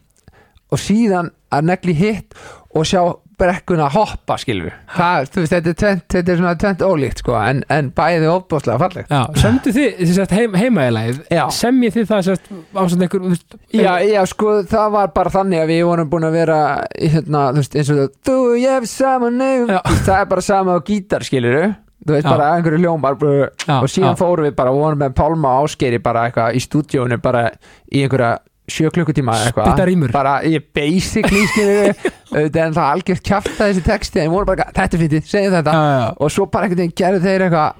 [SPEAKER 2] og síðan að negli hitt og sjá brekkuna hoppa, skilfur það, þú veist, þetta er tvent, þetta er svona tvent ólíkt, sko, en, en bæði óbúslega fallegt
[SPEAKER 1] Já, semdu þið, þið sett heim, heimaðilegið,
[SPEAKER 2] Já.
[SPEAKER 1] semjið þið það sett ásand einhver, þú veist, eh,
[SPEAKER 2] Já, já, sko, það var bara þannig að við vorum búin að vera í, hérna, þú veist, eins og það Þú, ég hef saman nefn
[SPEAKER 1] Já.
[SPEAKER 2] Það er bara sama á gítar, skilur Þú veist,
[SPEAKER 1] Já.
[SPEAKER 2] bara einhverju ljómar brr,
[SPEAKER 1] Já,
[SPEAKER 2] Og síðan
[SPEAKER 1] já.
[SPEAKER 2] fórum við bara, og vorum með Pálma og Ásgeiri bara eitthvað í stúdíónu bara í einhverja sjö klukkutíma eða eitthvað
[SPEAKER 1] Spittarímur.
[SPEAKER 2] Bara, ég basically, skilur Þetta er það algjört kjafta þessi texti En vorum bara, eitthvað, þetta er fyndið, segjum þetta
[SPEAKER 1] Já, já.
[SPEAKER 2] Og svo bara einhvern veginn gerðu þeir eitthvað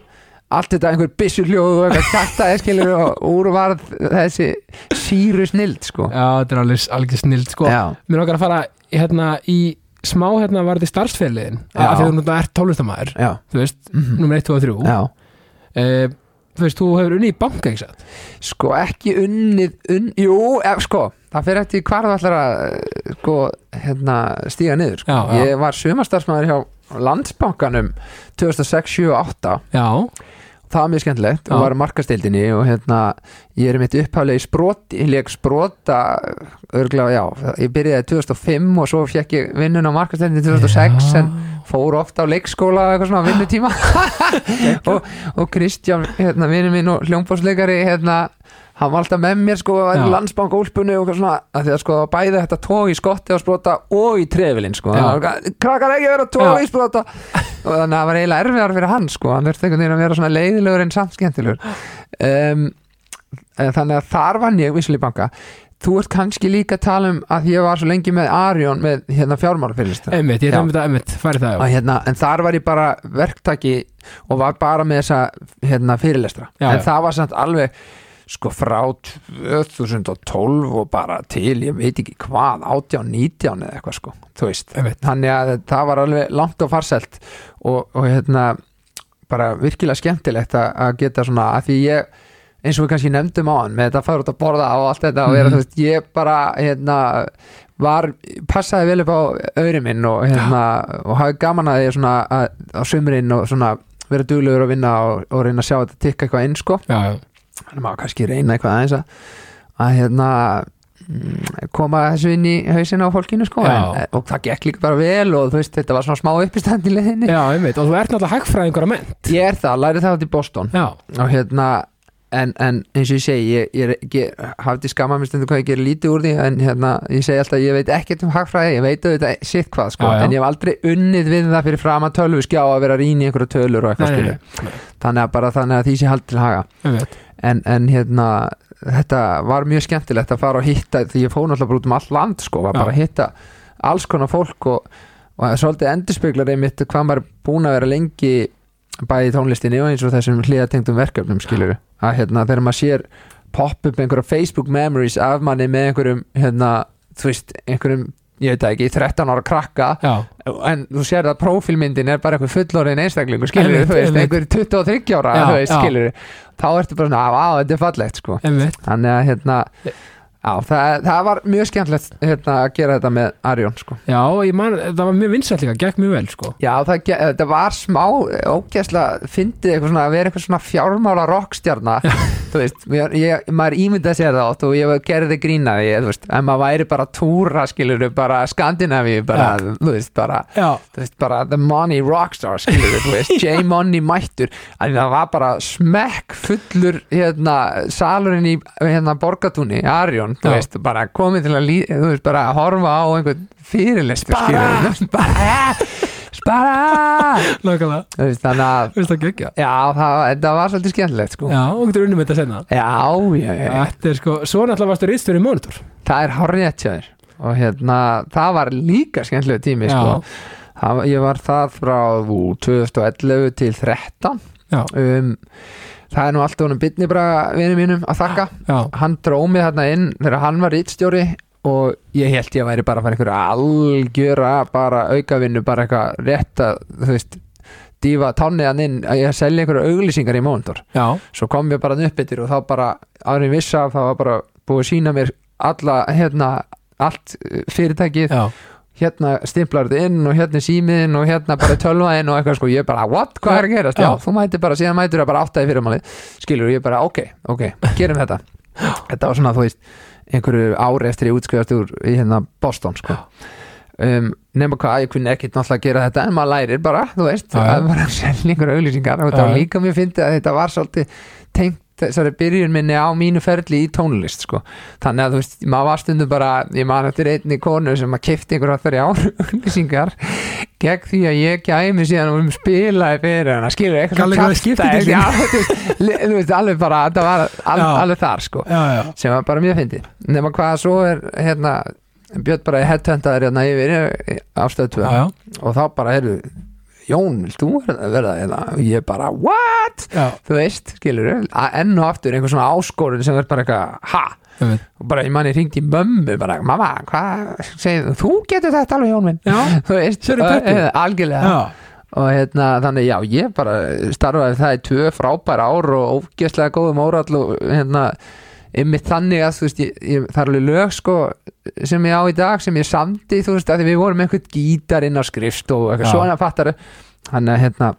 [SPEAKER 2] allt þetta einhver byssuljóð og eitthvað kjartaði skilur og úr var þessi síru snild sko
[SPEAKER 1] já, þetta er alveg, alveg snild, sko.
[SPEAKER 2] Já.
[SPEAKER 1] Mér okkar að fara hérna í smá hérna var þetta starfsfélagin
[SPEAKER 2] Já.
[SPEAKER 1] af því að þú náttúrulega ert tólustamæður
[SPEAKER 2] já,
[SPEAKER 1] þú veist, mm -hmm. nummer 1, 2 og 3
[SPEAKER 2] já.
[SPEAKER 1] uh, þú veist, þú hefur unni í banka ekki satt
[SPEAKER 2] sko ekki unnið unn, jú, ef, sko, það fyrir eftir hvar þú ætlar að eh, sko, hérna, stíga niður sko.
[SPEAKER 1] Já, já.
[SPEAKER 2] ég var sumastarsmaður hjá landsbankanum 2006, 7 og 8
[SPEAKER 1] já,
[SPEAKER 2] það var mjög skemmtilegt
[SPEAKER 1] Já.
[SPEAKER 2] og var markastildinni og hérna ég er mitt upphaflega í sprot ég leik sprota örgla, já, ég byrjaði 2005 og svo fekk ég vinnun á markastildinni 2006
[SPEAKER 1] Já.
[SPEAKER 2] en fór ofta á leikskóla eitthvað svona á vinnutíma og, og Kristján, hérna, vinur minn og hljómbóðsleikari hérna, hann var alltaf með mér sko
[SPEAKER 1] Já.
[SPEAKER 2] að landsbank úlpunni og eitthvað svona að því að sko það var bæði þetta tói í skotti og sprota og í trefilinn sko
[SPEAKER 1] Já.
[SPEAKER 2] Það var eitthvað, krakkar ekki vera tói í sprota og þannig að það var eiginlega erfiðar fyrir hann sko hann verði einhvern veginn að vera svona leiðilegur en samt skemmtilegur um, en þannig að þar vann ég vissulega í banka þú ert kannski líka að tala um að ég var svo lengi með Arjón með hérna fjármálafyrirlista
[SPEAKER 1] Einmitt, ég
[SPEAKER 2] Já.
[SPEAKER 1] er einmitt, einmitt, færi það já.
[SPEAKER 2] Og hérna, en þar var ég bara verktaki og var bara með þessa hérna, fyrirlestra
[SPEAKER 1] Já,
[SPEAKER 2] en
[SPEAKER 1] já.
[SPEAKER 2] það var samt alveg sko frá 2012 og bara til, ég veit ekki hvað 18, 19 eða eitthvað sko þú veist,
[SPEAKER 1] Einmitt.
[SPEAKER 2] þannig að það var alveg langt og farselt og, og hérna bara virkilega skemmtilegt að, að geta svona, að því ég eins og við kannski nefndum á hann með þetta að fara út að borða og allt þetta og vera,
[SPEAKER 1] Mhm.
[SPEAKER 2] þú veist, ég bara hérna, var, passaði vel upp á öðrum minn og hérna og hafði gaman að ég svona að, á sumrin og svona vera duglegur að vinna og, og reyna að sjá þetta tikka eitthvað inn sko
[SPEAKER 1] Já, já.
[SPEAKER 2] þannig maður kannski reyna eitthvað aðeins að, að hérna mm, koma þessu inn í hausinu á fólkinu sko
[SPEAKER 1] Já.
[SPEAKER 2] en, og það gekk líka bara vel og þú veist þetta var svona smá uppistand í leðinni
[SPEAKER 1] já, einmitt, og þú ert náttúrulega hægfræðingur að menn
[SPEAKER 2] ég er það, læri það út í Boston
[SPEAKER 1] Já,
[SPEAKER 2] og hérna en, en eins og ég segi, ég, ég, er ekki- hafði skamma mér stundum hvað ég gerir lítið úr því en hérna, ég segi alltaf, ég veit ekkert um hagfræði ég veit auðvitað sitt hvað sko
[SPEAKER 1] Já, já.
[SPEAKER 2] en ég hef aldrei unnið við það fyrir fram að tölvu skjá að vera rýn í einhverju tölur og eitthvað skilu þannig að bara þannig að því sé hald til haga
[SPEAKER 1] einmitt
[SPEAKER 2] en, en hérna þetta var mjög skemmtilegt að fara og hitta því ég fór náttúrulega bara út um allt land sko, var
[SPEAKER 1] Já.
[SPEAKER 2] bara að hitta alls konar fólk og, og það er svolítið endurspeglar einmitt hvað maður er búin að vera lengi bæði í tónlistinni og eins og þessum hliðatengdum verkefnum skilur að hérna þegar maður sér popp upp einhverja Facebook memories af manni með einhverjum hérna, þú veist, einhverjum ég veit það ekki, 13 ára krakka
[SPEAKER 1] Já,
[SPEAKER 2] en þú sér að prófílmyndin er bara eitthvað fullorðin einstaklingur skilur
[SPEAKER 1] Einmitt,
[SPEAKER 2] þú veist,
[SPEAKER 1] einmitt.
[SPEAKER 2] einhver 23 ára
[SPEAKER 1] Já,
[SPEAKER 2] þú veist,
[SPEAKER 1] já.
[SPEAKER 2] skilur þá ertu bara svona, á, þetta er fallegt sko
[SPEAKER 1] einmitt
[SPEAKER 2] þannig að hérna á, það, það var mjög skemmtilegt hérna, að gera þetta með Arjón sko
[SPEAKER 1] Já, ég man, það var mjög vinsætt líka, gekk mjög vel sko
[SPEAKER 2] Já, það, ge- þetta var smá ógæslega, fyndið eitthvað svona að vera eitthvað svona fjármála rockstjarna þú veist, ég, ég, maður ímyndaði sér það átt og ég gerði grínaði, þú veist en maður væri bara að túra, skilur bara Skandinavíu, bara, þú veist, bara
[SPEAKER 1] Já,
[SPEAKER 2] þú veist bara the money rockstar skilur þú veist, J-Money mættur en það var bara smekk fullur hérna salurinn í hérna borgatúni, Arjón þú
[SPEAKER 1] Já.
[SPEAKER 2] veist, bara komið til að lí, þú veist bara að horfa á einhvern fyrirlestur
[SPEAKER 1] Spara!
[SPEAKER 2] skilurðu. spara, "Ah, spara
[SPEAKER 1] nákvæmlega,
[SPEAKER 2] þú veist, þannig að
[SPEAKER 1] veist það gekkja
[SPEAKER 2] já, það, þetta var svolítið skemmtilegt sko já,
[SPEAKER 1] Já, og getur unnum þetta senna
[SPEAKER 2] já, já, já.
[SPEAKER 1] Þetta er sko, svo náttúrulega varstu rýstur í monitor
[SPEAKER 2] það er horrið hjá þér og hérna, það var líka skemmtilegu tími sko. það, var- ég var það frá ú, 2011 til 13
[SPEAKER 1] Já,
[SPEAKER 2] um, það er nú allt honum bitni bara vinið mínum að þakka
[SPEAKER 1] já,
[SPEAKER 2] hann dró mig þarna inn þegar hann var rítstjóri og ég held ég að væri bara að fara einhverja algjöra bara aukavinnu, bara eitthvað rétt að þú veist, dífa tánni hann inn að ég selja einhverja auglýsingar í móndur
[SPEAKER 1] já,
[SPEAKER 2] svo kom ég bara upp yfir og þá bara árið vissa, það var bara búið að sína mér alla, hérna allt eh, fyrirtækið
[SPEAKER 1] já
[SPEAKER 2] hérna stimplar þetta inn og hérna er símiðin og hérna bara tölvaðin og eitthvað sko ég bara what, hvað er að gerast, já,
[SPEAKER 1] Já.
[SPEAKER 2] þú mætir bara síðan mætir það bara áttaði fyrirmáli, skilur ég bara ok, ok, gerum þetta þetta var svona þú veist, einhverju ári eftir ég útskrifast úr í hérna Boston sko um, nema hvað, ég kunni ekkit náttúrulega að gera þetta en maður lærir bara, þú veist,
[SPEAKER 1] Já, já.
[SPEAKER 2] að bara selja einhverju auglýsingar og þetta
[SPEAKER 1] Já,
[SPEAKER 2] var
[SPEAKER 1] já.
[SPEAKER 2] líka mér fyndi að þetta var svolítið tengt þessari byrjun minni á mínu ferli í tónlist sko þannig að þú veist, maður var stundum bara ég man eftir einni konu sem að kifti einhverja þarja áruglýsingar gegn því að ég gæmi síðan og um spilaði fyrir hana, skilur eitthvað
[SPEAKER 1] Alveg hvað skiptidillinn.
[SPEAKER 2] já, þú veist, li- þú veist, alveg bara það var al,
[SPEAKER 1] Já.
[SPEAKER 2] alveg þar sko
[SPEAKER 1] Já, já,
[SPEAKER 2] sem var bara mjög fyndið nema hvað svo er hérna Björn bara headhuntaður hérna yfir afstöðu
[SPEAKER 1] já,
[SPEAKER 2] 2
[SPEAKER 1] já,
[SPEAKER 2] og þá bara heyrðu Jón, vil þú verða verða hérna og ég bara, what?
[SPEAKER 1] já,
[SPEAKER 2] þú veist, skilur enn og aftur einhver svona áskorun sem er bara eitthvað, ha?
[SPEAKER 1] einmitt
[SPEAKER 2] og bara ég manni hringt í mömmu bara, mamma, hvað segir þú, þú getur þetta alveg Jón minn
[SPEAKER 1] Já,
[SPEAKER 2] þú veist,
[SPEAKER 1] Sérðu peppið?
[SPEAKER 2] eh, algjörlega
[SPEAKER 1] já,
[SPEAKER 2] og hérna, þannig já, ég bara starfaði það í tvö frábær ár og ógeðslega góðum órall og hérna einmitt þannig að þú veist, ég, ég, það er alveg lög sko sem ég á í dag sem ég samdi, þú veist, að því við vorum með einhvern gítar inn á skrifst og eitthvað
[SPEAKER 1] Já.
[SPEAKER 2] svona fattar þannig að hérna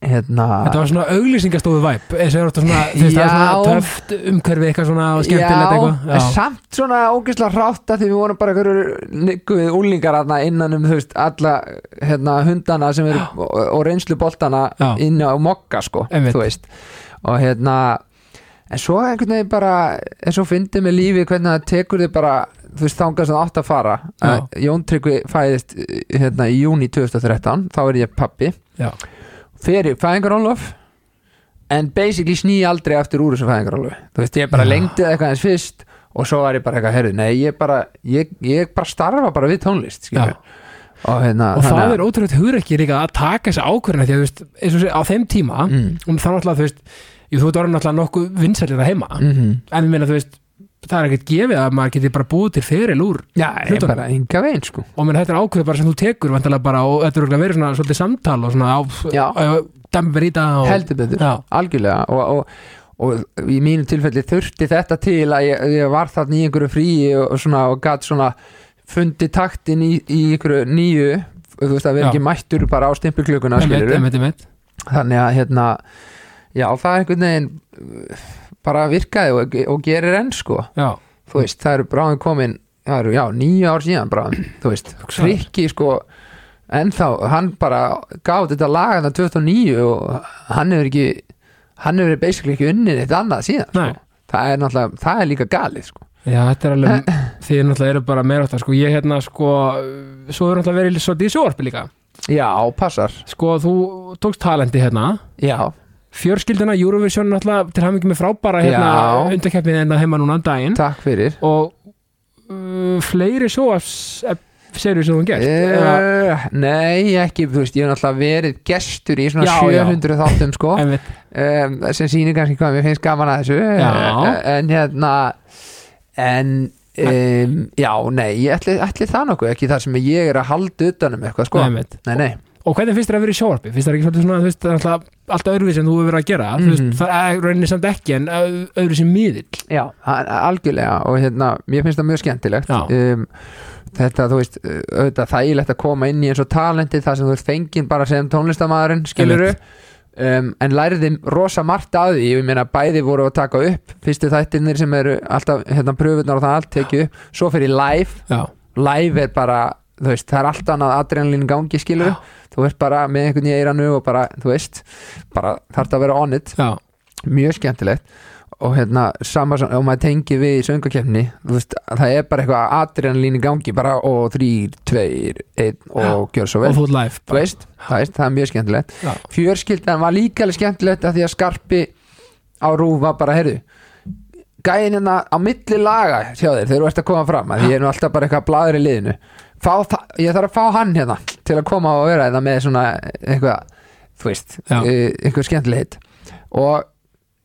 [SPEAKER 2] hérna
[SPEAKER 1] Þetta var svona auglýsingastofu væp eins og þetta svona, þess að
[SPEAKER 2] Já.
[SPEAKER 1] svona töft umhverfi eitthvað svona og skemmtilegt
[SPEAKER 2] Já, en
[SPEAKER 1] eitthvað Já,
[SPEAKER 2] samt svona ógeðslega rátt að því við vorum bara einhverju nikku við úlingar aðna innan um þú veist, alla hérna, hundana sem eru og, og reynslu boltana
[SPEAKER 1] Já.
[SPEAKER 2] inn á mokka sko,
[SPEAKER 1] Einmitt.
[SPEAKER 2] þú veist og hérna en svo einhvern veginn bara en svo fyndið með lífi hvernig það tekur þið bara þú veist þangað sem það átt að fara
[SPEAKER 1] Já.
[SPEAKER 2] Að Jón Tryggvi fæðist hérna í júni 2013 þá er ég pappi
[SPEAKER 1] já,
[SPEAKER 2] fyrir fæðingarólof en basically sný aldrei aftur úr þessu fæðingarólof þú veist, ég bara
[SPEAKER 1] Já.
[SPEAKER 2] lengdi það eitthvað eins fyrst og svo var ég bara eitthvað, herðu, nei, ég bara ég, ég bara starfa bara við
[SPEAKER 1] já.
[SPEAKER 2] tónlist skilur. og hérna
[SPEAKER 1] Og það
[SPEAKER 2] þannig
[SPEAKER 1] er ótrúlega hugrekki líka að taka þessa ákvörðina því að þú veist, eins og sé, á þeim tíma
[SPEAKER 2] að- mm,
[SPEAKER 1] og þá náttúrulega, þú veist, jú, þú ert orðin náttúrulega nokkuð vinsælir að heima
[SPEAKER 2] mm
[SPEAKER 1] en ég meina, þú veist, það er ekkert gefið að maður geti bara búið til feril úr
[SPEAKER 2] já, ég
[SPEAKER 1] Hlutunum.
[SPEAKER 2] bara enga veginn sko
[SPEAKER 1] og menn þetta er ákveð bara sem þú tekur vantilega bara og þetta er örugglega verið svona svolítið samtal og svona á,
[SPEAKER 2] Já.
[SPEAKER 1] dæmver í dag og,
[SPEAKER 2] heldur betur,
[SPEAKER 1] Já,
[SPEAKER 2] algjörlega og, og, og í mínu tilfelli þurfti þetta til að ég, ég var þarna í einhverju fríi og, og svona og gat svona fundi taktin í, í einhverju nýju þú veist að vera
[SPEAKER 1] Já.
[SPEAKER 2] ekki mættur bara á stimpuklökunna
[SPEAKER 1] einmitt, einmitt, einmitt
[SPEAKER 2] þannig að hérna já það einhvern veginn uh, bara virkaði og, og gerir enn sko
[SPEAKER 1] Já,
[SPEAKER 2] þú veist það eru bráðum komin það eru já nýju ár síðan bráðum þú veist
[SPEAKER 1] Hugsaðu þér.
[SPEAKER 2] Krikki sko ennþá hann bara gáði þetta lagana 2009 og hann hefur ekki hann hefur basically ekki unnið eitt annað síðan
[SPEAKER 1] Nei.
[SPEAKER 2] sko. það er náttúrulega það er líka galið sko
[SPEAKER 1] já þetta er alveg því er náttúrulega eru bara meira átta sko ég hérna sko, svo er náttúrulega verið svolítið í sjóarpi líka
[SPEAKER 2] já passar
[SPEAKER 1] sko þú tókst talendi hérna
[SPEAKER 2] já
[SPEAKER 1] fjörskildina Eurovision náttúrulega til hamingi með frábæra hérna
[SPEAKER 2] Já.
[SPEAKER 1] undarkeppnið hérna heima núna um daginn
[SPEAKER 2] takk fyrir
[SPEAKER 1] og uh, fleiri sjóars serið sem þú hefur gert eða-
[SPEAKER 2] Uh, nei, ekki, þú veist, ég hef náttúrulega verið gestur í svona
[SPEAKER 1] Já, já.
[SPEAKER 2] 700 þáttum sko
[SPEAKER 1] einmitt,
[SPEAKER 2] um, sem sýnir kannski hvað mér finnst gaman að þessu
[SPEAKER 1] Já.
[SPEAKER 2] en hérna en um, já, nei, ég ætli, ætli það nokkuð ekki þar sem ég er að halda utanum eitthvað sko,
[SPEAKER 1] einmitt
[SPEAKER 2] nei, nei,
[SPEAKER 1] Og hvernig finnst þér að vera í sjóarpi? Finnst þér ekki svolítið svona, þú veist, það er alltaf alltaf öðruvísi sem þú hefur verið að gera, þú veist,
[SPEAKER 2] Mhm.
[SPEAKER 1] það er rauninni samt ekki en ö- öðruvísi miðill.
[SPEAKER 2] já, a- algjörlega og hérna, mér finnst það mjög skemmtilegt
[SPEAKER 1] Já.
[SPEAKER 2] um, þetta, þú veist uh, auðvitað þægilegt að koma inn í eins og talenti þar sem þú ert fenginn bara sem tónlistamæðurinn skiluru um, en læriði rosa margt að því ég meina bæði voru að taka upp fyrstu þættirnir sem eru alltaf hérna pröfunar og það allt tekið upp, svo fyrir live
[SPEAKER 1] Já,
[SPEAKER 2] live er bara þú veist, það er allt annað adrenalín í gangi skilur þú ert bara með einhvern í eiranu og bara, þú veist, bara þarf að vera on it,
[SPEAKER 1] já,
[SPEAKER 2] mjög skemmtilegt og hérna, sama sem- og maður tengi við í söngakefni, þú veist, það er bara eitthvað adrenalín í gangi, bara og þrýr, tveir, einn og gjör svo vel
[SPEAKER 1] og þú ert live.
[SPEAKER 2] þú veist, það veist, það er mjög skemmtilegt
[SPEAKER 1] Já.
[SPEAKER 2] fjörskildan var líka alveg skemmtilegt að því að skarpi á rúf var bara, heyrðu gæðin hérna á milli laga sjá þér, þegar þú ert að koma fram að því ég er nú alltaf bara eitthvað bladur í liðinu fá, það- ég þarf að fá hann hérna til að koma og vera hérna með svona eitthvað, þú veist,
[SPEAKER 1] Já.
[SPEAKER 2] eh, eitthvað skemmtilegt og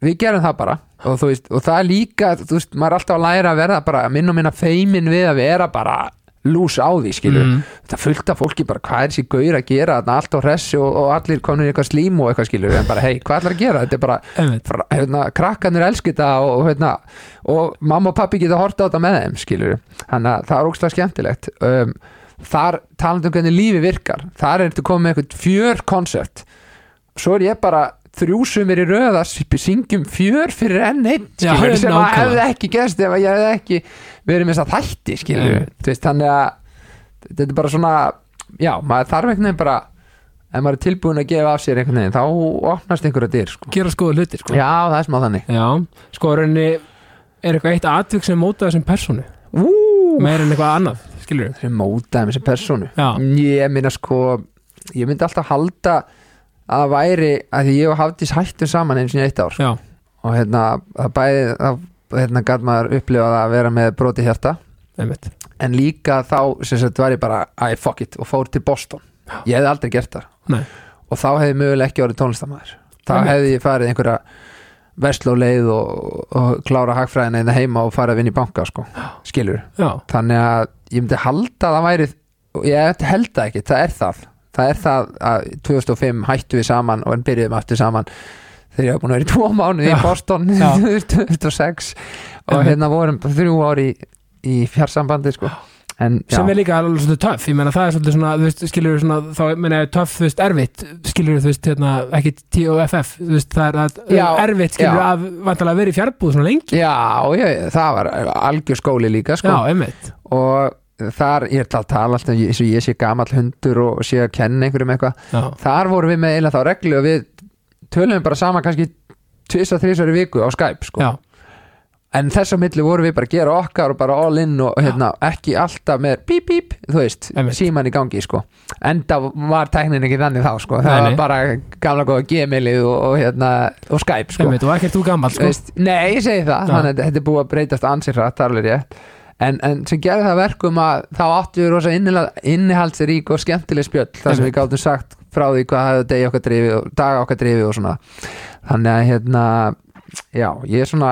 [SPEAKER 2] við gerum það bara og þú veist, og það er líka þú veist, maður er alltaf að læra að verða bara minn og minna feimin við að vera bara lús á því, skilur
[SPEAKER 1] Mm.
[SPEAKER 2] þetta fullt af fólki bara hvað er þessi gaur að gera þarna allt á hressi og, og allir konur í eitthvað slím og eitthvað skilur en bara hei hvað ætlar að gera þetta er bara
[SPEAKER 1] Einmitt,
[SPEAKER 2] fra- hérna, krakkanur elski þetta og, og, hérna, og mamma og pappi geta horta á þetta með þeim skilur þannig að það er ógstlega skemmtilegt um, þar talandi um hvernig lífi virkar þar er þetta komið með eitthvað fjör koncept svo er ég bara þrjú sumir í röða syngjum fjör fyrir enn einn
[SPEAKER 1] Já,
[SPEAKER 2] skilur,
[SPEAKER 1] já,
[SPEAKER 2] sem að
[SPEAKER 1] nákvæmlega.
[SPEAKER 2] hefði ekki gerst ef að ég hefði ekki verið með þess að þætti skilur
[SPEAKER 1] Einmitt.
[SPEAKER 2] Þú veist, þannig að þetta er bara svona já, maður þarf einhvern veginn bara ef maður er tilbúin að gefa af sér einhvern veginn þá opnast einhverja dyr sko.
[SPEAKER 1] gera skoða hluti, sko.
[SPEAKER 2] já, það er smá þannig
[SPEAKER 1] Já, sko, rauninni er eitthvað eitt atvik sem mótaði sem personu,
[SPEAKER 2] Ú,
[SPEAKER 1] meir en eitthvað annað, skilur við?
[SPEAKER 2] sem mótaði með þessi personu
[SPEAKER 1] Já.
[SPEAKER 2] ég meina sko ég myndi alltaf halda að það væri að því ég og Hafdís hættum saman eins og eitt ár
[SPEAKER 1] Já,
[SPEAKER 2] og hérna það bæði það hérna gæt maður upplifað að vera með broti hjarta
[SPEAKER 1] einmitt.
[SPEAKER 2] en líka þá sem sagt var ég bara I fuck it og fór til Boston ég hefði aldrei gert það
[SPEAKER 1] Nei,
[SPEAKER 2] og þá hefði mögulega ekki orðið tónlistamæður þá
[SPEAKER 1] Einmitt.
[SPEAKER 2] hefði ég farið einhverja versluleið og, og klára hagfræðina eða heima og farið að vinna í banka sko. skilur,
[SPEAKER 1] já,
[SPEAKER 2] þannig að ég myndi halda að það væri og ég held það ekki, það er það það er það að 2005 hættu við saman og en byrjuðum aftur saman þegar ég var búin að vera í tvo mánuði
[SPEAKER 1] Já.
[SPEAKER 2] í Boston
[SPEAKER 1] Já.
[SPEAKER 2] 2006 og
[SPEAKER 1] Einmitt.
[SPEAKER 2] hérna vorum þrjú ári í, í fjarsambandi sko. en já,
[SPEAKER 1] sem er líka alveg svolítið töff ég meina það er svolítið svona, þú veist, skilur svona þá meina ég töff, þú veist, erfitt skilur þú veist, hérna, ekki T-O-F-F þú veist, það er að
[SPEAKER 2] Já,
[SPEAKER 1] erfitt skilur
[SPEAKER 2] já.
[SPEAKER 1] að vantalega verið í fjárbúð svona lengi
[SPEAKER 2] já, já, það var algjör skóli líka sko.
[SPEAKER 1] já, einmitt
[SPEAKER 2] og þar, ég ætla að tala alltaf eins og ég sé gamall hundur og sé að kenna einhverjum eitthvað,
[SPEAKER 1] já,
[SPEAKER 2] þar vorum við með eiginlega þá reglu og við tölum bara saman kannski tvisa, þrísar í viku á Skype sko.
[SPEAKER 1] já,
[SPEAKER 2] en þess á milli vorum við bara að gera okkar og bara all in og hérna, ekki alltaf með bíp bíp, þú veist,
[SPEAKER 1] Einmitt.
[SPEAKER 2] síman í gangi sko. enda var tæknin ekki þannig þá sko. það
[SPEAKER 1] Nei, nei.
[SPEAKER 2] var bara gamla góða gemilið og, og, hérna, og Skype sko.
[SPEAKER 1] einmitt, og ekkert þú gammal
[SPEAKER 2] Þú
[SPEAKER 1] sko.
[SPEAKER 2] veist, nei, ég segi það,
[SPEAKER 1] Já.
[SPEAKER 2] þannig að þetta er búið að breytast ansið hratt, það er alveg rétt en, en sem gerði það verkum að þá áttu við rosa innilega- innihaldsrík og skemmtileg spjöll þar sem við gátum sagt frá því hvað hefði degi okkar drifið og dag okkar drifið og svona þannig að hérna já, ég er svona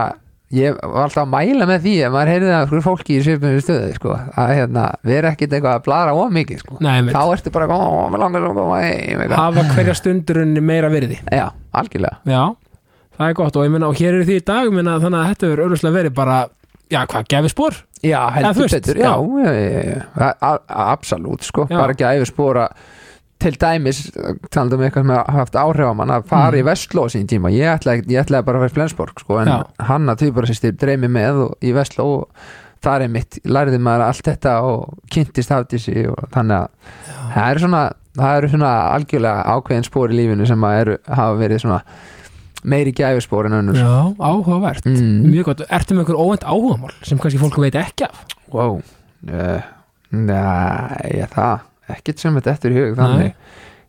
[SPEAKER 2] ég var alltaf að mæla með því að maður heyrði að hverju fólki í svipinu stöðu sko, að hérna, vera ekkit eitthvað að blara of mikið sko.
[SPEAKER 1] Nei, einmitt.
[SPEAKER 2] þá ertu bara að koma langar að koma heim eitthvað.
[SPEAKER 1] hafa hverja stundurinn meira virði
[SPEAKER 2] já, algjörlega
[SPEAKER 1] já, það er gott og ég meina, og hér eru því í dag, ég meina, þannig að þetta verður auðvitað verið bara, já, hvað, gefi spór
[SPEAKER 2] Já,
[SPEAKER 1] Eða, þú
[SPEAKER 2] heldur
[SPEAKER 1] veist,
[SPEAKER 2] betur, já, já, já, já, já. A- a- Absolút, sko,
[SPEAKER 1] Já.
[SPEAKER 2] bara ekki að spora til dæmis, talandum um eitthvað sem hafa haft áhrif á mann að fara í Vestló sín tíma, ég ætlaði, ég ætlaði bara að fara í Flensborg, sko, en
[SPEAKER 1] Mhm. Já.
[SPEAKER 2] hanna tvíbarasýstir dreimi með og, í Vestló og þar er mitt, lærði maður allt þetta og kynntist hafdísi og þannig að það eru svona, það eru svona algjörlega ákveðin spor í lífinu sem að eru, hafa verið svona meiri gæfispor en önnur
[SPEAKER 1] já, áhugavert
[SPEAKER 2] Mm.
[SPEAKER 1] mjög gott, ertu með einhver óvænt áhugamál sem kannski fólk veit ekki af
[SPEAKER 2] Wow uh, Nei, ég það ekkert sem þetta eftir í hug þannig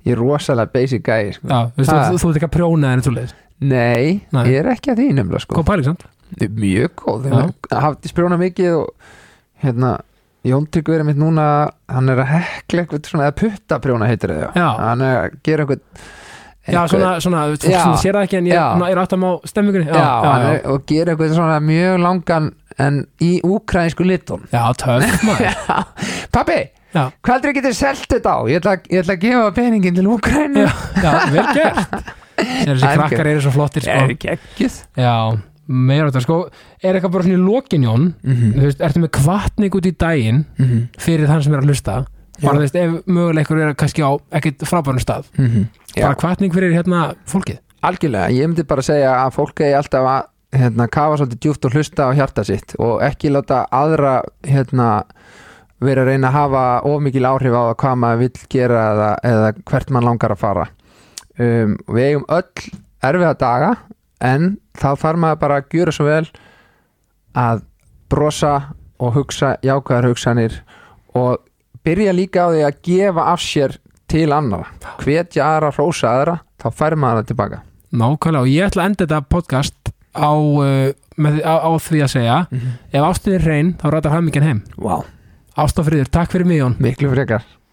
[SPEAKER 2] Ég er rosalega basic guy sko.
[SPEAKER 1] já, þú veist,
[SPEAKER 2] Ha. Sko.
[SPEAKER 1] þú, þú ert ekki að prjóna en þú leir,
[SPEAKER 2] Nei,
[SPEAKER 1] Nei.
[SPEAKER 2] ég er ekki að því nefnilega sko.
[SPEAKER 1] kom pæling samt
[SPEAKER 2] Þetta er Mjög góð
[SPEAKER 1] Já.
[SPEAKER 2] Hafði spjóna mikið og hérna Jón Tryggvi er mitt núna hann er að hekla eitthvað svona eða putta prjóna heitir það
[SPEAKER 1] Já.
[SPEAKER 2] hann er að gera eitthvað,
[SPEAKER 1] já, svona, svona, þú veist, fólk
[SPEAKER 2] Já.
[SPEAKER 1] sem sér það ekki en ég,
[SPEAKER 2] Já.
[SPEAKER 1] svona, ég er áttam á stemmingunni
[SPEAKER 2] já, hann er, og gera eitthvað svona mjög langan en í úkraínsku litun
[SPEAKER 1] já, töff maður
[SPEAKER 2] Pappi,
[SPEAKER 1] já,
[SPEAKER 2] hvað heldur ég getið selt þetta á? Ég ætla, ég ætla að gefa peningin til úkraínu
[SPEAKER 1] já, já, vel gert Sér þessi
[SPEAKER 2] Það er
[SPEAKER 1] krakkar eru svo flottir sko.
[SPEAKER 2] geggjuð
[SPEAKER 1] já, meira þetta sko er eitthvað bara svona í lokin Jón
[SPEAKER 2] Mhm.
[SPEAKER 1] þú veist, ertu með kvatning út í daginn
[SPEAKER 2] Mm-hmm.
[SPEAKER 1] fyrir þann sem er að hlusta bara
[SPEAKER 2] Já.
[SPEAKER 1] þú veist, ef möguleikur er kannski á ekkert frábærun stað,
[SPEAKER 2] Mm-hmm. Já.
[SPEAKER 1] bara kvatning fyrir hérna fólkið,
[SPEAKER 2] Algjörlega, ég myndi bara segja að fólk eigi alltaf að hérna, kafa svolítið djúft og hlusta á hjarta sitt og ekki láta aðra hérna, vera að reyna að hafa of mikil áhrif á það hvað maður vill gera eða, eða hvert mann langar að fara um, Við eigum öll erfiða daga en þá þarf maður bara að gjöra svo vel að brosa og hugsa jákvæðar hugsanir og byrja líka á því að gefa af sér til annara hvetja aðra, hrósa aðra þá fær maður það tilbaka
[SPEAKER 1] nákvæmlega og ég ætla að enda þetta podcast á, uh, með, á, á því að segja ef ástin er reyn, þá ratar hafmyggjan heim
[SPEAKER 2] Vá, wow.
[SPEAKER 1] Ástafriður, takk fyrir mig Jón
[SPEAKER 2] miklu frekar